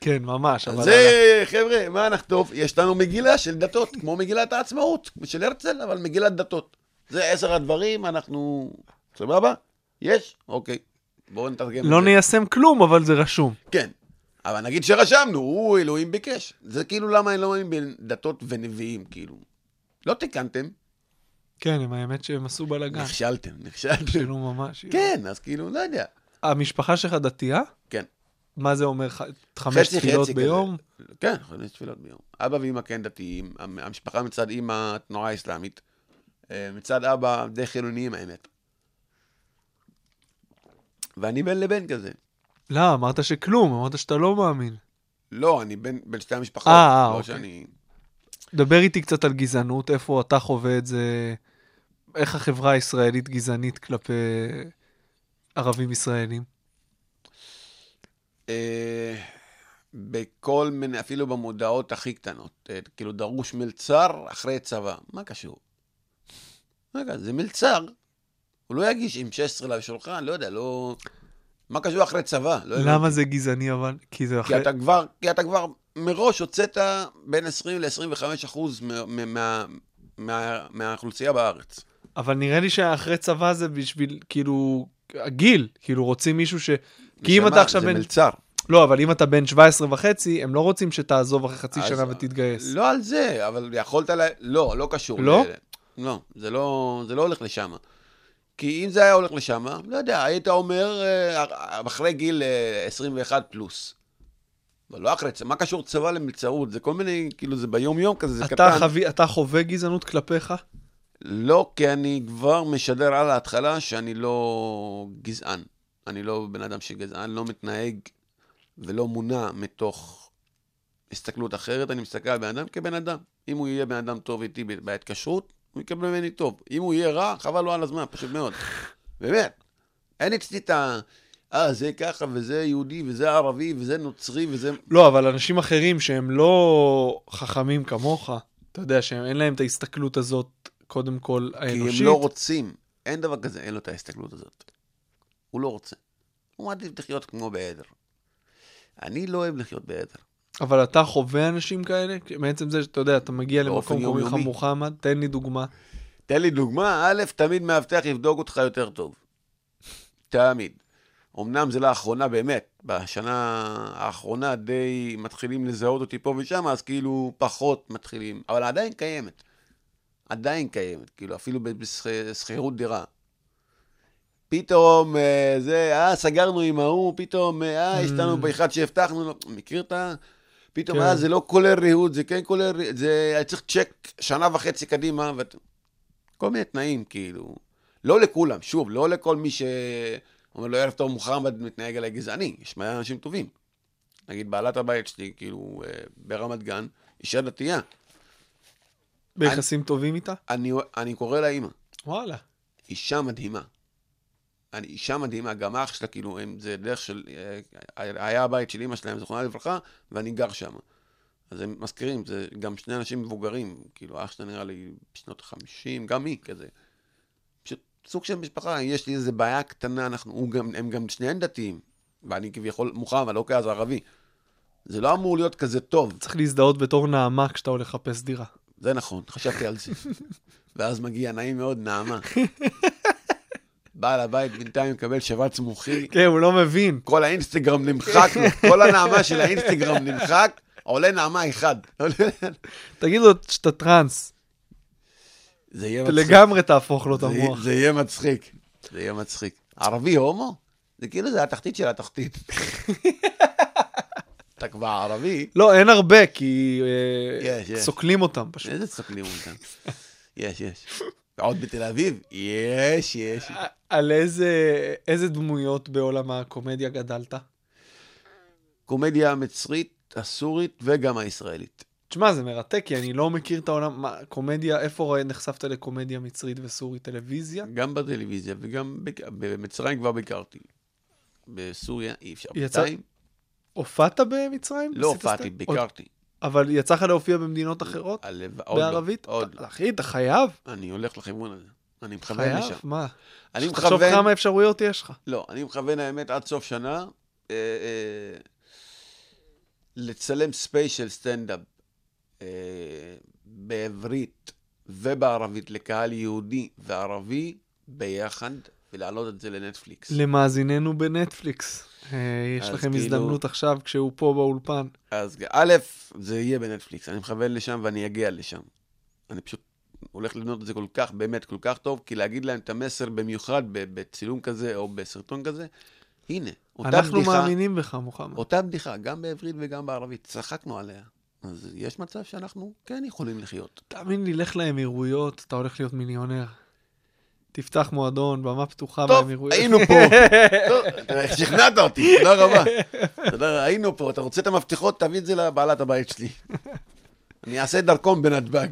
[SPEAKER 4] כן, ממש. אבל-
[SPEAKER 6] זה, חבר'ה, מה נחטוף? יש לנו מגילה של דתות, כמו מגילת העצמאות, של הרצל, אבל מגילת דתות. זה עשר הדברים, אנחנו... סבבה? יש? אוקיי. בואו נתרגם את
[SPEAKER 4] לא
[SPEAKER 6] זה.
[SPEAKER 4] ניישם כלום, אבל זה רשום.
[SPEAKER 6] כן. אבל נגיד שרשמנו, הוא אלוהים ביקש. זה כאילו למה אני לא מאמין בדתות ונביאים, כאילו. לא תיקנתם,
[SPEAKER 4] כן, הם האמת שהם עשו בלאגן.
[SPEAKER 6] נכשלתם, נכשלתם.
[SPEAKER 4] כאילו ממש.
[SPEAKER 6] כן, אז כאילו, לא יודע.
[SPEAKER 4] המשפחה שלך דתייה?
[SPEAKER 6] כן.
[SPEAKER 4] מה זה אומר? ח- חמש
[SPEAKER 6] חצי
[SPEAKER 4] תפילות
[SPEAKER 6] חצי
[SPEAKER 4] ביום?
[SPEAKER 6] כזה. כן, חמש תפילות ביום. אבא ואמא כן דתיים, המ- המשפחה מצד אמא תנועה אסלאמית. אה, מצד אבא די חילוניים האמת. ואני בין לבין כזה.
[SPEAKER 4] לא, אמרת שכלום, אמרת שאתה לא מאמין.
[SPEAKER 6] לא, אני בין, בין שתי המשפחות.
[SPEAKER 4] אה,
[SPEAKER 6] לא
[SPEAKER 4] אוקיי.
[SPEAKER 6] שאני...
[SPEAKER 4] דבר איתי קצת על גזענות, איפה אתה חווה את זה, איך החברה הישראלית גזענית כלפי ערבים ישראלים.
[SPEAKER 6] אה, בכל מיני, אפילו במודעות הכי קטנות. אה, כאילו, דרוש מלצר אחרי צבא. מה קשור? רגע, זה מלצר. הוא לא יגיש עם 16 לשולחן, לא יודע, לא... מה קשור אחרי צבא? לא הבנתי.
[SPEAKER 4] למה זה גזעני אבל? כי זה
[SPEAKER 6] כי
[SPEAKER 4] אחרי...
[SPEAKER 6] אתה כבר, כי אתה כבר מראש הוצאת בין 20 ל-25 אחוז מהאוכלוסייה בארץ.
[SPEAKER 4] אבל נראה לי שאחרי צבא זה בשביל, כאילו, הגיל, כאילו רוצים מישהו ש... כי אם
[SPEAKER 6] נשמה,
[SPEAKER 4] אתה עכשיו
[SPEAKER 6] זה
[SPEAKER 4] בן...
[SPEAKER 6] מלצר.
[SPEAKER 4] לא, אבל אם אתה בן 17 וחצי, הם לא רוצים שתעזוב אחרי חצי
[SPEAKER 6] אז-
[SPEAKER 4] שנה ותתגייס.
[SPEAKER 6] לא על זה, אבל יכולת ל... לא, לא קשור.
[SPEAKER 4] לא?
[SPEAKER 6] ל... לא, זה לא, זה לא הולך לשם. כי אם זה היה הולך לשם, לא יודע, היית אומר אה, אחרי גיל אה, 21 פלוס. אבל לא אחרי צבא, מה קשור צבא למלצרות? זה כל מיני, כאילו, זה ביום-יום כזה, זה
[SPEAKER 4] אתה,
[SPEAKER 6] קטן.
[SPEAKER 4] חווי, אתה חווה גזענות כלפיך?
[SPEAKER 6] לא, כי אני כבר משדר על ההתחלה שאני לא גזען. אני לא בן אדם שגזען, לא מתנהג ולא מונע מתוך הסתכלות אחרת. אני מסתכל על בן אדם כבן אדם. אם הוא יהיה בן אדם טוב איתי בהתקשרות, הוא יקבל ממני טוב. אם הוא יהיה רע, חבל לו על הזמן, פשוט מאוד. באמת. אין אצלי את ה... אה, זה ככה, וזה יהודי, וזה ערבי, וזה נוצרי, וזה...
[SPEAKER 4] לא, אבל אנשים אחרים שהם לא חכמים כמוך, אתה יודע שאין להם את ההסתכלות הזאת, קודם כל,
[SPEAKER 6] כי
[SPEAKER 4] האנושית.
[SPEAKER 6] הם לא רוצים. אין דבר כזה, אין לו את ההסתכלות הזאת. הוא לא רוצה. הוא מעדיף לחיות כמו בעדר. אני לא אוהב לחיות בעדר.
[SPEAKER 4] אבל אתה חווה אנשים כאלה? כי בעצם זה שאתה יודע, אתה מגיע
[SPEAKER 6] באופן
[SPEAKER 4] למקום קוראים לך
[SPEAKER 6] יומיומי.
[SPEAKER 4] מוחמד, תן לי דוגמה.
[SPEAKER 6] תן לי דוגמה, א', תמיד מאבטח יבדוק אותך יותר טוב. תמיד. אמנם זה לאחרונה באמת, בשנה האחרונה די מתחילים לזהות אותי פה ושם, אז כאילו פחות מתחילים, אבל עדיין קיימת. עדיין קיימת, כאילו אפילו בשכירות דירה. פתאום אה, זה, אה, סגרנו עם ההוא, פתאום, אה, יש לנו באחד שהבטחנו לו, מכיר את ה... פתאום,
[SPEAKER 4] כן.
[SPEAKER 6] אה, זה לא כולל ריהוט, זה כן כולל, ריהוט, זה היה צריך צ'ק שנה וחצי קדימה, ואת... כל מיני תנאים, כאילו. לא לכולם, שוב, לא לכל מי שאומר לו ערב טוב מוחמד מתנהג אליי גזעני, יש מלא אנשים טובים. נגיד בעלת הבית שלי, כאילו, אה, ברמת גן, אישה דתייה.
[SPEAKER 4] ביחסים טובים איתה?
[SPEAKER 6] אני, אני קורא לה אימא.
[SPEAKER 4] וואלה.
[SPEAKER 6] אישה מדהימה. אני אישה מדהימה, גם אח שלה, כאילו, הם, זה דרך של... אה, היה הבית של אימא שלהם, זכרונה לברכה, ואני גר שם. אז הם מזכירים, זה גם שני אנשים מבוגרים, כאילו, אח שלה נראה לי בשנות ה-50, גם היא כזה. פשוט סוג של משפחה, יש לי איזה בעיה קטנה, אנחנו, הוא גם, הם גם שניהם דתיים, ואני כביכול מוחמד, לא כאז ערבי. זה לא אמור להיות כזה טוב,
[SPEAKER 4] צריך להזדהות בתור נעמה כשאתה הולך לחפש דירה.
[SPEAKER 6] זה נכון, חשבתי על זה. ואז מגיע נעים מאוד, נעמה. בעל הבית בינתיים מקבל שבץ מוחי,
[SPEAKER 4] כן, הוא לא מבין.
[SPEAKER 6] כל האינסטגרם נמחק, לו, כל הנעמה של האינסטגרם נמחק, עולה נעמה אחד.
[SPEAKER 4] תגיד לו שאתה טראנס,
[SPEAKER 6] זה יהיה
[SPEAKER 4] אתה
[SPEAKER 6] מצחיק.
[SPEAKER 4] לגמרי תהפוך לו את
[SPEAKER 6] זה יהיה-
[SPEAKER 4] המוח.
[SPEAKER 6] זה יהיה מצחיק. זה יהיה מצחיק. ערבי הומו? זה כאילו זה התחתית של התחתית. אתה כבר ערבי,
[SPEAKER 4] לא, אין הרבה, כי אה,
[SPEAKER 6] יש, יש.
[SPEAKER 4] סוקלים אותם פשוט.
[SPEAKER 6] איזה סוקלים אותם. יש, יש. עוד בתל אביב? יש, יש.
[SPEAKER 4] על איזה איזה דמויות בעולם הקומדיה גדלת?
[SPEAKER 6] קומדיה המצרית, הסורית וגם הישראלית.
[SPEAKER 4] תשמע, זה מרתק, כי אני לא מכיר את העולם, מה, קומדיה, איפה רואה- נחשפת לקומדיה מצרית וסורית? טלוויזיה?
[SPEAKER 6] גם בטלוויזיה וגם בק- במצרים כבר ביקרתי. בסוריה אי אפשר.
[SPEAKER 4] יצא-
[SPEAKER 6] בינתיים
[SPEAKER 4] הופעת במצרים?
[SPEAKER 6] לא
[SPEAKER 4] עשית
[SPEAKER 6] הופעתי,
[SPEAKER 4] סטנד- עוד-
[SPEAKER 6] ביקרתי.
[SPEAKER 4] אבל יצא לך להופיע במדינות אחרות?
[SPEAKER 6] הלו- עוד לא,
[SPEAKER 4] בערבית?
[SPEAKER 6] עוד לא.
[SPEAKER 4] אחי, אתה חייב?
[SPEAKER 6] אני הולך לכיוון הזה. אני מכוון
[SPEAKER 4] חייב?
[SPEAKER 6] לשם.
[SPEAKER 4] מה?
[SPEAKER 6] אני
[SPEAKER 4] תחשוב
[SPEAKER 6] מכוון...
[SPEAKER 4] כמה אפשרויות יש לך.
[SPEAKER 6] לא, אני מכוון האמת עד סוף שנה אה, אה, לצלם ספיישל סטנדאפ אה, בעברית ובערבית לקהל יהודי וערבי ביחד, ולהעלות את זה לנטפליקס.
[SPEAKER 4] למאזיננו בנטפליקס, אה, יש
[SPEAKER 6] אז
[SPEAKER 4] לכם
[SPEAKER 6] כאילו-
[SPEAKER 4] הזדמנות עכשיו כשהוא פה באולפן.
[SPEAKER 6] אז א', זה יהיה בנטפליקס, אני מכוון לשם ואני אגיע לשם. אני פשוט הולך לבנות את זה כל כך, באמת כל כך טוב, כי להגיד להם את המסר במיוחד ב- בצילום כזה או בסרטון כזה, הנה, אותה בדיחה...
[SPEAKER 4] אנחנו מאמינים בך, מוחמד.
[SPEAKER 6] אותה בדיחה, גם בעברית וגם בערבית, צחקנו עליה. אז יש מצב שאנחנו כן יכולים לחיות.
[SPEAKER 4] תאמין לי, לך לאמירויות, אתה הולך להיות מיליונר. תפתח מועדון, במה פתוחה
[SPEAKER 6] טוב,
[SPEAKER 4] באמירויות.
[SPEAKER 6] היינו פה. טוב, אתה שכנעת אותי, תודה רבה. תודה, היינו פה, אתה רוצה את המפתחות, תביא את זה לבעלת הבית שלי. אני אעשה דרכון בנתב"ג.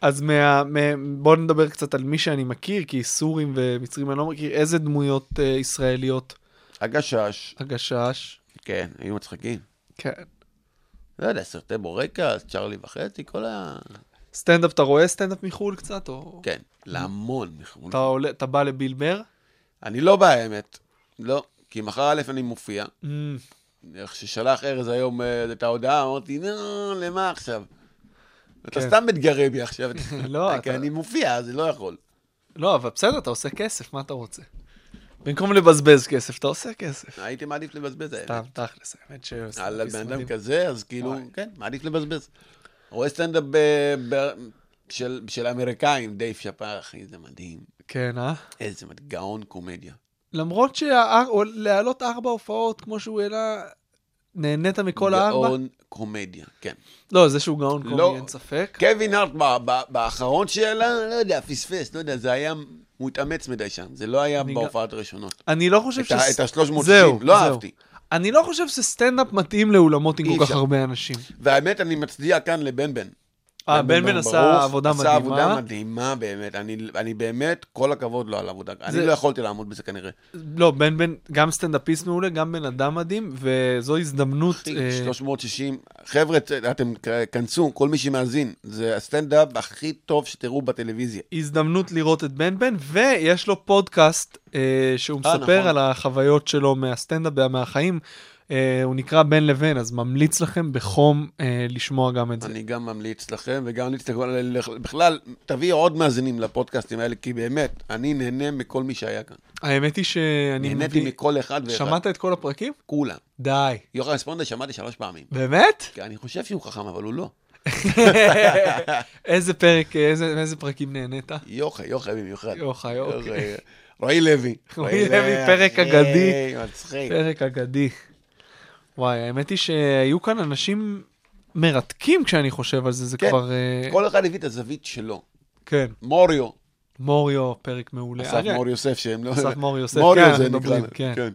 [SPEAKER 4] אז מה, מה, בוא נדבר קצת על מי שאני מכיר, כי סורים ומצרים אני לא מכיר, איזה דמויות אה, ישראליות
[SPEAKER 6] הגשש,
[SPEAKER 4] הגשש?
[SPEAKER 6] כן, היו מצחיקים.
[SPEAKER 4] כן.
[SPEAKER 6] לא יודע, סרטי בורקס, צ'רלי וחצי, כל ה...
[SPEAKER 4] סטנדאפ, אתה רואה סטנדאפ מחו"ל קצת? או...
[SPEAKER 6] כן, להמון. מחו"ל.
[SPEAKER 4] אתה, עולה, אתה בא לבילבר?
[SPEAKER 6] אני לא בא, האמת. לא, כי מחר א' אני מופיע.
[SPEAKER 4] Mm.
[SPEAKER 6] איך ששלח ארז היום אה, את ההודעה, אמרתי, נו, למה עכשיו? אתה
[SPEAKER 4] כן.
[SPEAKER 6] סתם מתגרה בי עכשיו.
[SPEAKER 4] לא,
[SPEAKER 6] כי
[SPEAKER 4] אתה-
[SPEAKER 6] אני מופיע, אז אני לא יכול.
[SPEAKER 4] לא, אבל בסדר, אתה עושה כסף, מה אתה רוצה? במקום לבזבז כסף, אתה עושה כסף.
[SPEAKER 6] הייתי מעדיף לבזבז. האמת.
[SPEAKER 4] סתם, תכלס, האמת ש...
[SPEAKER 6] אה, על בן אדם כזה, אז כאילו,
[SPEAKER 4] וואי.
[SPEAKER 6] כן, מעדיף לבזבז. רואה סטנדאפ ב- ב- של- של אמריקאים, דייב שפר, אחי, זה מדהים.
[SPEAKER 4] כן, אה?
[SPEAKER 6] איזה מד- גאון קומדיה.
[SPEAKER 4] למרות שלהעלות ארבע הופעות, כמו שהוא העלה, נהנית מכל הארבע?
[SPEAKER 6] גאון קומדיה, כן.
[SPEAKER 4] לא, זה שהוא גאון
[SPEAKER 6] לא.
[SPEAKER 4] קומי, אין ספק.
[SPEAKER 6] קווין הארט ב- ב- באחרון שלה, לא יודע, פספס, לא יודע, זה היה, הוא התאמץ מדי שם, זה לא היה
[SPEAKER 4] אני גם-
[SPEAKER 6] בהופעת הראשונות.
[SPEAKER 4] אני לא חושב
[SPEAKER 6] את ה- את ה-360,
[SPEAKER 4] זהו,
[SPEAKER 6] לא
[SPEAKER 4] זהו.
[SPEAKER 6] אהבתי.
[SPEAKER 4] אני לא חושב שסטנדאפ מתאים לאולמות עם
[SPEAKER 6] אי
[SPEAKER 4] כל כך
[SPEAKER 6] אפשר.
[SPEAKER 4] הרבה אנשים.
[SPEAKER 6] והאמת, אני מצדיע כאן לבן בן.
[SPEAKER 4] אה, בן בן עשה
[SPEAKER 6] ברוך,
[SPEAKER 4] עבודה
[SPEAKER 6] עשה עבודה
[SPEAKER 4] מדהימה.
[SPEAKER 6] מדהימה באמת, אני, אני באמת, כל הכבוד לו על העבודה,
[SPEAKER 4] זה-
[SPEAKER 6] אני לא יכולתי לעמוד בזה כנראה.
[SPEAKER 4] לא, בן בן, גם סטנדאפיסט מעולה, גם בן אדם מדהים, וזו הזדמנות. אה,
[SPEAKER 6] 360, חבר'ה, ת- אתם כנסו, כל מי שמאזין, זה הסטנדאפ הכי טוב שתראו בטלוויזיה.
[SPEAKER 4] הזדמנות לראות את בן בן, ויש לו פודקאסט אה, שהוא
[SPEAKER 6] אה,
[SPEAKER 4] מספר
[SPEAKER 6] נכון.
[SPEAKER 4] על החוויות שלו מהסטנדאפ ומהחיים. אה, הוא נקרא בין לבין, אז ממליץ לכם בחום אה, לשמוע גם את זה.
[SPEAKER 6] אני גם ממליץ לכם, וגם ממליץ לכם, ל- בכלל, תביאו עוד מאזינים לפודקאסטים האלה, כי באמת, אני נהנה מכל מי שהיה כאן.
[SPEAKER 4] האמת היא שאני
[SPEAKER 6] נהניתי מכל אחד ואחד.
[SPEAKER 4] שמעת את כל הפרקים?
[SPEAKER 6] כולם.
[SPEAKER 4] די.
[SPEAKER 6] יוחנן ספונדה שמעתי שלוש פעמים.
[SPEAKER 4] באמת?
[SPEAKER 6] כי אני חושב שהוא חכם, אבל הוא לא.
[SPEAKER 4] איזה פרק, אה, איזה איזה פרקים נהנית?
[SPEAKER 6] יוחאי, יוחאי במיוחד.
[SPEAKER 4] יוחאי, אוקיי.
[SPEAKER 6] יוחאי. רועי לוי.
[SPEAKER 4] רועי לוי, פרק אגדי.
[SPEAKER 6] היי, מצחיק.
[SPEAKER 4] פרק אגדי. וואי, האמת היא שהיו כאן אנשים מרתקים כשאני חושב על זה, זה
[SPEAKER 6] כן,
[SPEAKER 4] כבר... אה,
[SPEAKER 6] כל אחד הביא את הזווית שלו.
[SPEAKER 4] כן.
[SPEAKER 6] מוריו,
[SPEAKER 4] מוריו, פרק מעולה.
[SPEAKER 6] אסף
[SPEAKER 4] אני-
[SPEAKER 6] מור יוסף, שהם לא...
[SPEAKER 4] אה. אסף מור יוסף, כן,
[SPEAKER 6] מוריו זה
[SPEAKER 4] אנחנו
[SPEAKER 6] נקרא.
[SPEAKER 4] מדברים, כן.
[SPEAKER 6] כן.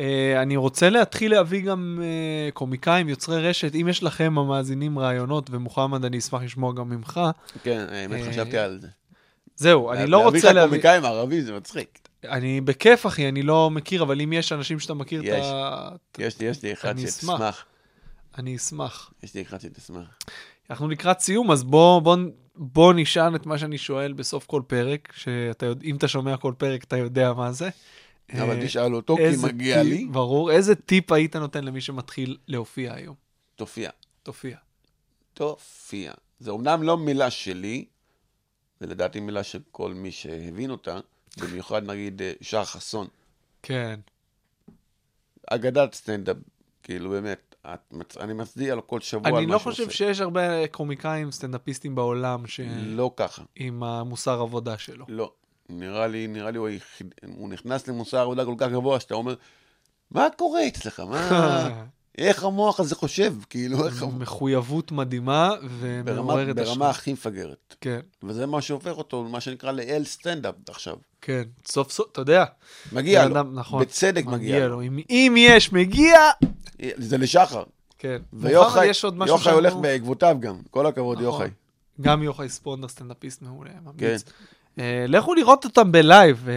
[SPEAKER 4] אה, אני רוצה להתחיל להביא גם אה, קומיקאים, יוצרי רשת. אם יש לכם, המאזינים, רעיונות, ומוחמד, אני אשמח לשמוע גם ממך.
[SPEAKER 6] כן, האמת,
[SPEAKER 4] אה,
[SPEAKER 6] חשבתי על זה.
[SPEAKER 4] זהו, אני לא
[SPEAKER 6] להביא
[SPEAKER 4] רוצה
[SPEAKER 6] לך
[SPEAKER 4] להביא...
[SPEAKER 6] קומיקאים ערבים, זה מצחיק.
[SPEAKER 4] אני בכיף, אחי, אני לא מכיר, אבל אם יש אנשים שאתה מכיר,
[SPEAKER 6] יש.
[SPEAKER 4] אתה...
[SPEAKER 6] יש לי, יש לי אחד
[SPEAKER 4] אני אשמח.
[SPEAKER 6] שתשמח.
[SPEAKER 4] אני אשמח.
[SPEAKER 6] יש לי אחד שתשמח.
[SPEAKER 4] אנחנו לקראת סיום, אז בוא, בוא, בוא נשען את מה שאני שואל בסוף כל פרק, שאתה יודע, אם אתה שומע כל פרק, אתה יודע מה זה.
[SPEAKER 6] אבל
[SPEAKER 4] אה,
[SPEAKER 6] תשאל אותו,
[SPEAKER 4] איזה
[SPEAKER 6] כי אוקיי, מגיע
[SPEAKER 4] טיפ-
[SPEAKER 6] לי.
[SPEAKER 4] ברור. איזה טיפ היית נותן למי שמתחיל להופיע היום?
[SPEAKER 6] תופיע.
[SPEAKER 4] תופיע.
[SPEAKER 6] תופיע. זו אמנם לא מילה שלי, ולדעתי מילה של כל מי שהבין אותה, במיוחד נגיד אה, שחר חסון,
[SPEAKER 4] כן.
[SPEAKER 6] אגדת סטנדאפ, כאילו באמת, את, מצ- אני מצדיע לו כל שבוע על מה
[SPEAKER 4] אני
[SPEAKER 6] שהוא
[SPEAKER 4] לא
[SPEAKER 6] עושה.
[SPEAKER 4] חושב שיש הרבה קומיקאים, סטנדאפיסטים בעולם ש...
[SPEAKER 6] לא ככה,
[SPEAKER 4] עם המוסר עבודה שלו.
[SPEAKER 6] לא. נראה לי, נראה לי הוא, היחיד, הוא נכנס למוסר עבודה כל כך גבוה, שאתה אומר, מה קורה אצלך? מה... איך המוח הזה חושב? כאילו, איך... המוח-
[SPEAKER 4] מחויבות מדהימה
[SPEAKER 6] ברמה,
[SPEAKER 4] ומעוררת
[SPEAKER 6] ברמה הכי מפגרת.
[SPEAKER 4] כן,
[SPEAKER 6] וזה מה שהופך אותו, מה שנקרא, לאל סטנדאפ עכשיו.
[SPEAKER 4] כן. סוף סוף, אתה יודע.
[SPEAKER 6] מגיע
[SPEAKER 4] בן
[SPEAKER 6] לו,
[SPEAKER 4] אדם- נכון.
[SPEAKER 6] בצדק מגיע לו.
[SPEAKER 4] אם- אם יש, מגיע.
[SPEAKER 6] זה לשחר.
[SPEAKER 4] כן.
[SPEAKER 6] ויוחאי
[SPEAKER 4] מוחמד, יש עוד משהו
[SPEAKER 6] יוחאי הולך
[SPEAKER 4] שאנחנו-
[SPEAKER 6] בעקבותיו גם, כל הכבוד,
[SPEAKER 4] נכון.
[SPEAKER 6] יוחאי. כן.
[SPEAKER 4] גם יוחאי ספונדר, סטנדאפיסט מעולה, ממליץ. אה, לכו לראות אותם בלייב. אה,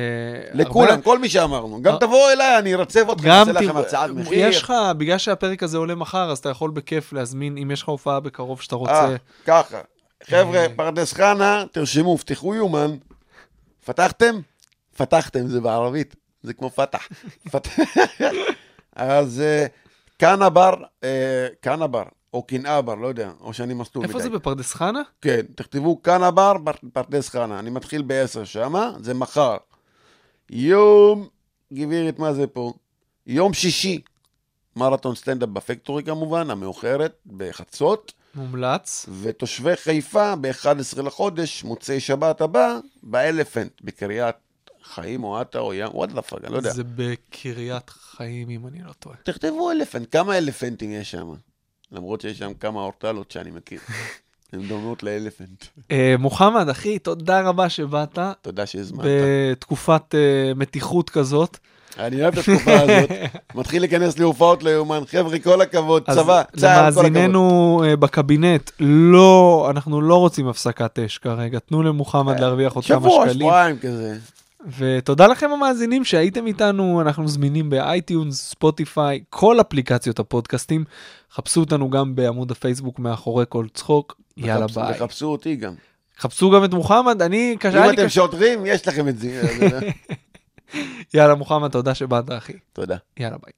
[SPEAKER 6] לכולם,
[SPEAKER 4] הרבה-
[SPEAKER 6] כל מי שאמרנו. גם
[SPEAKER 4] אה.
[SPEAKER 6] תבואו אליי, אני ארצב אתכם,
[SPEAKER 4] גם
[SPEAKER 6] אעשה לכם
[SPEAKER 4] תראו- אה,
[SPEAKER 6] הצעת מחיר.
[SPEAKER 4] יש לך, בגלל שהפרק הזה עולה מחר, אז אתה יכול בכיף להזמין, אם יש לך הופעה בקרוב שאתה
[SPEAKER 6] אה,
[SPEAKER 4] רוצה. אה.
[SPEAKER 6] ככה. חבר'ה, פרדס חנה, תרשמו, פתחו יומן. פתחתם? פתחתם, זה בערבית. זה כמו פתח. פת- אז אה, קנה בר, אה, קנה בר, או קנאה בר, לא יודע, או שאני מסטול מדי.
[SPEAKER 4] איפה זה בפרדס חנה?
[SPEAKER 6] כן, תכתבו כאן הבר, פר- פרדס חנה. אני מתחיל ב-10 שמה, זה מחר. יום, גבירת, מה זה פה? יום שישי, מרתון סטנדאפ בפקטורי כמובן, המאוחרת, בחצות,
[SPEAKER 4] מומלץ.
[SPEAKER 6] ותושבי חיפה, ב-11 לחודש, מוצאי שבת הבא, באלפנט, בקריית חיים או עטה או ים, וואט דה פאק, אני לא יודע.
[SPEAKER 4] זה בקריית חיים, אם אני לא טועה.
[SPEAKER 6] תכתבו אלפנט, כמה אלפנטים יש שם? למרות שיש שם כמה אורטלות שאני מכיר. הן דומות לאלפנט.
[SPEAKER 4] אה, מוחמד, אחי, תודה רבה שבאת.
[SPEAKER 6] תודה שהזמנת.
[SPEAKER 4] בתקופת אה, מתיחות כזאת.
[SPEAKER 6] אני אוהב את התקופה הזאת. מתחיל להיכנס להופעות ליומן. חבר'ה, כל הכבוד,
[SPEAKER 4] אז
[SPEAKER 6] צבא, צה"ל, כל הכבוד.
[SPEAKER 4] למאזיננו אה, בקבינט, לא, אנחנו לא רוצים הפסקת אש כרגע, תנו למוחמד להרוויח עוד כמה
[SPEAKER 6] אה, שבוע,
[SPEAKER 4] שקלים.
[SPEAKER 6] שבועיים כזה.
[SPEAKER 4] ותודה לכם המאזינים שהייתם איתנו, אנחנו זמינים באייטיונס, ספוטיפיי, כל אפליקציות הפודקאסטים. חפשו אותנו גם בעמוד הפייסבוק מאחורי כל צחוק, יאללה
[SPEAKER 6] חפשו-
[SPEAKER 4] ביי.
[SPEAKER 6] וחפשו אותי גם.
[SPEAKER 4] חפשו גם את מוחמד, אני, קשה
[SPEAKER 6] אם
[SPEAKER 4] לי
[SPEAKER 6] אתם
[SPEAKER 4] קשה.
[SPEAKER 6] שוטרים, יש לכם את זה.
[SPEAKER 4] יאללה מוחמד, תודה שבאת אחי,
[SPEAKER 6] תודה.
[SPEAKER 4] יאללה ביי.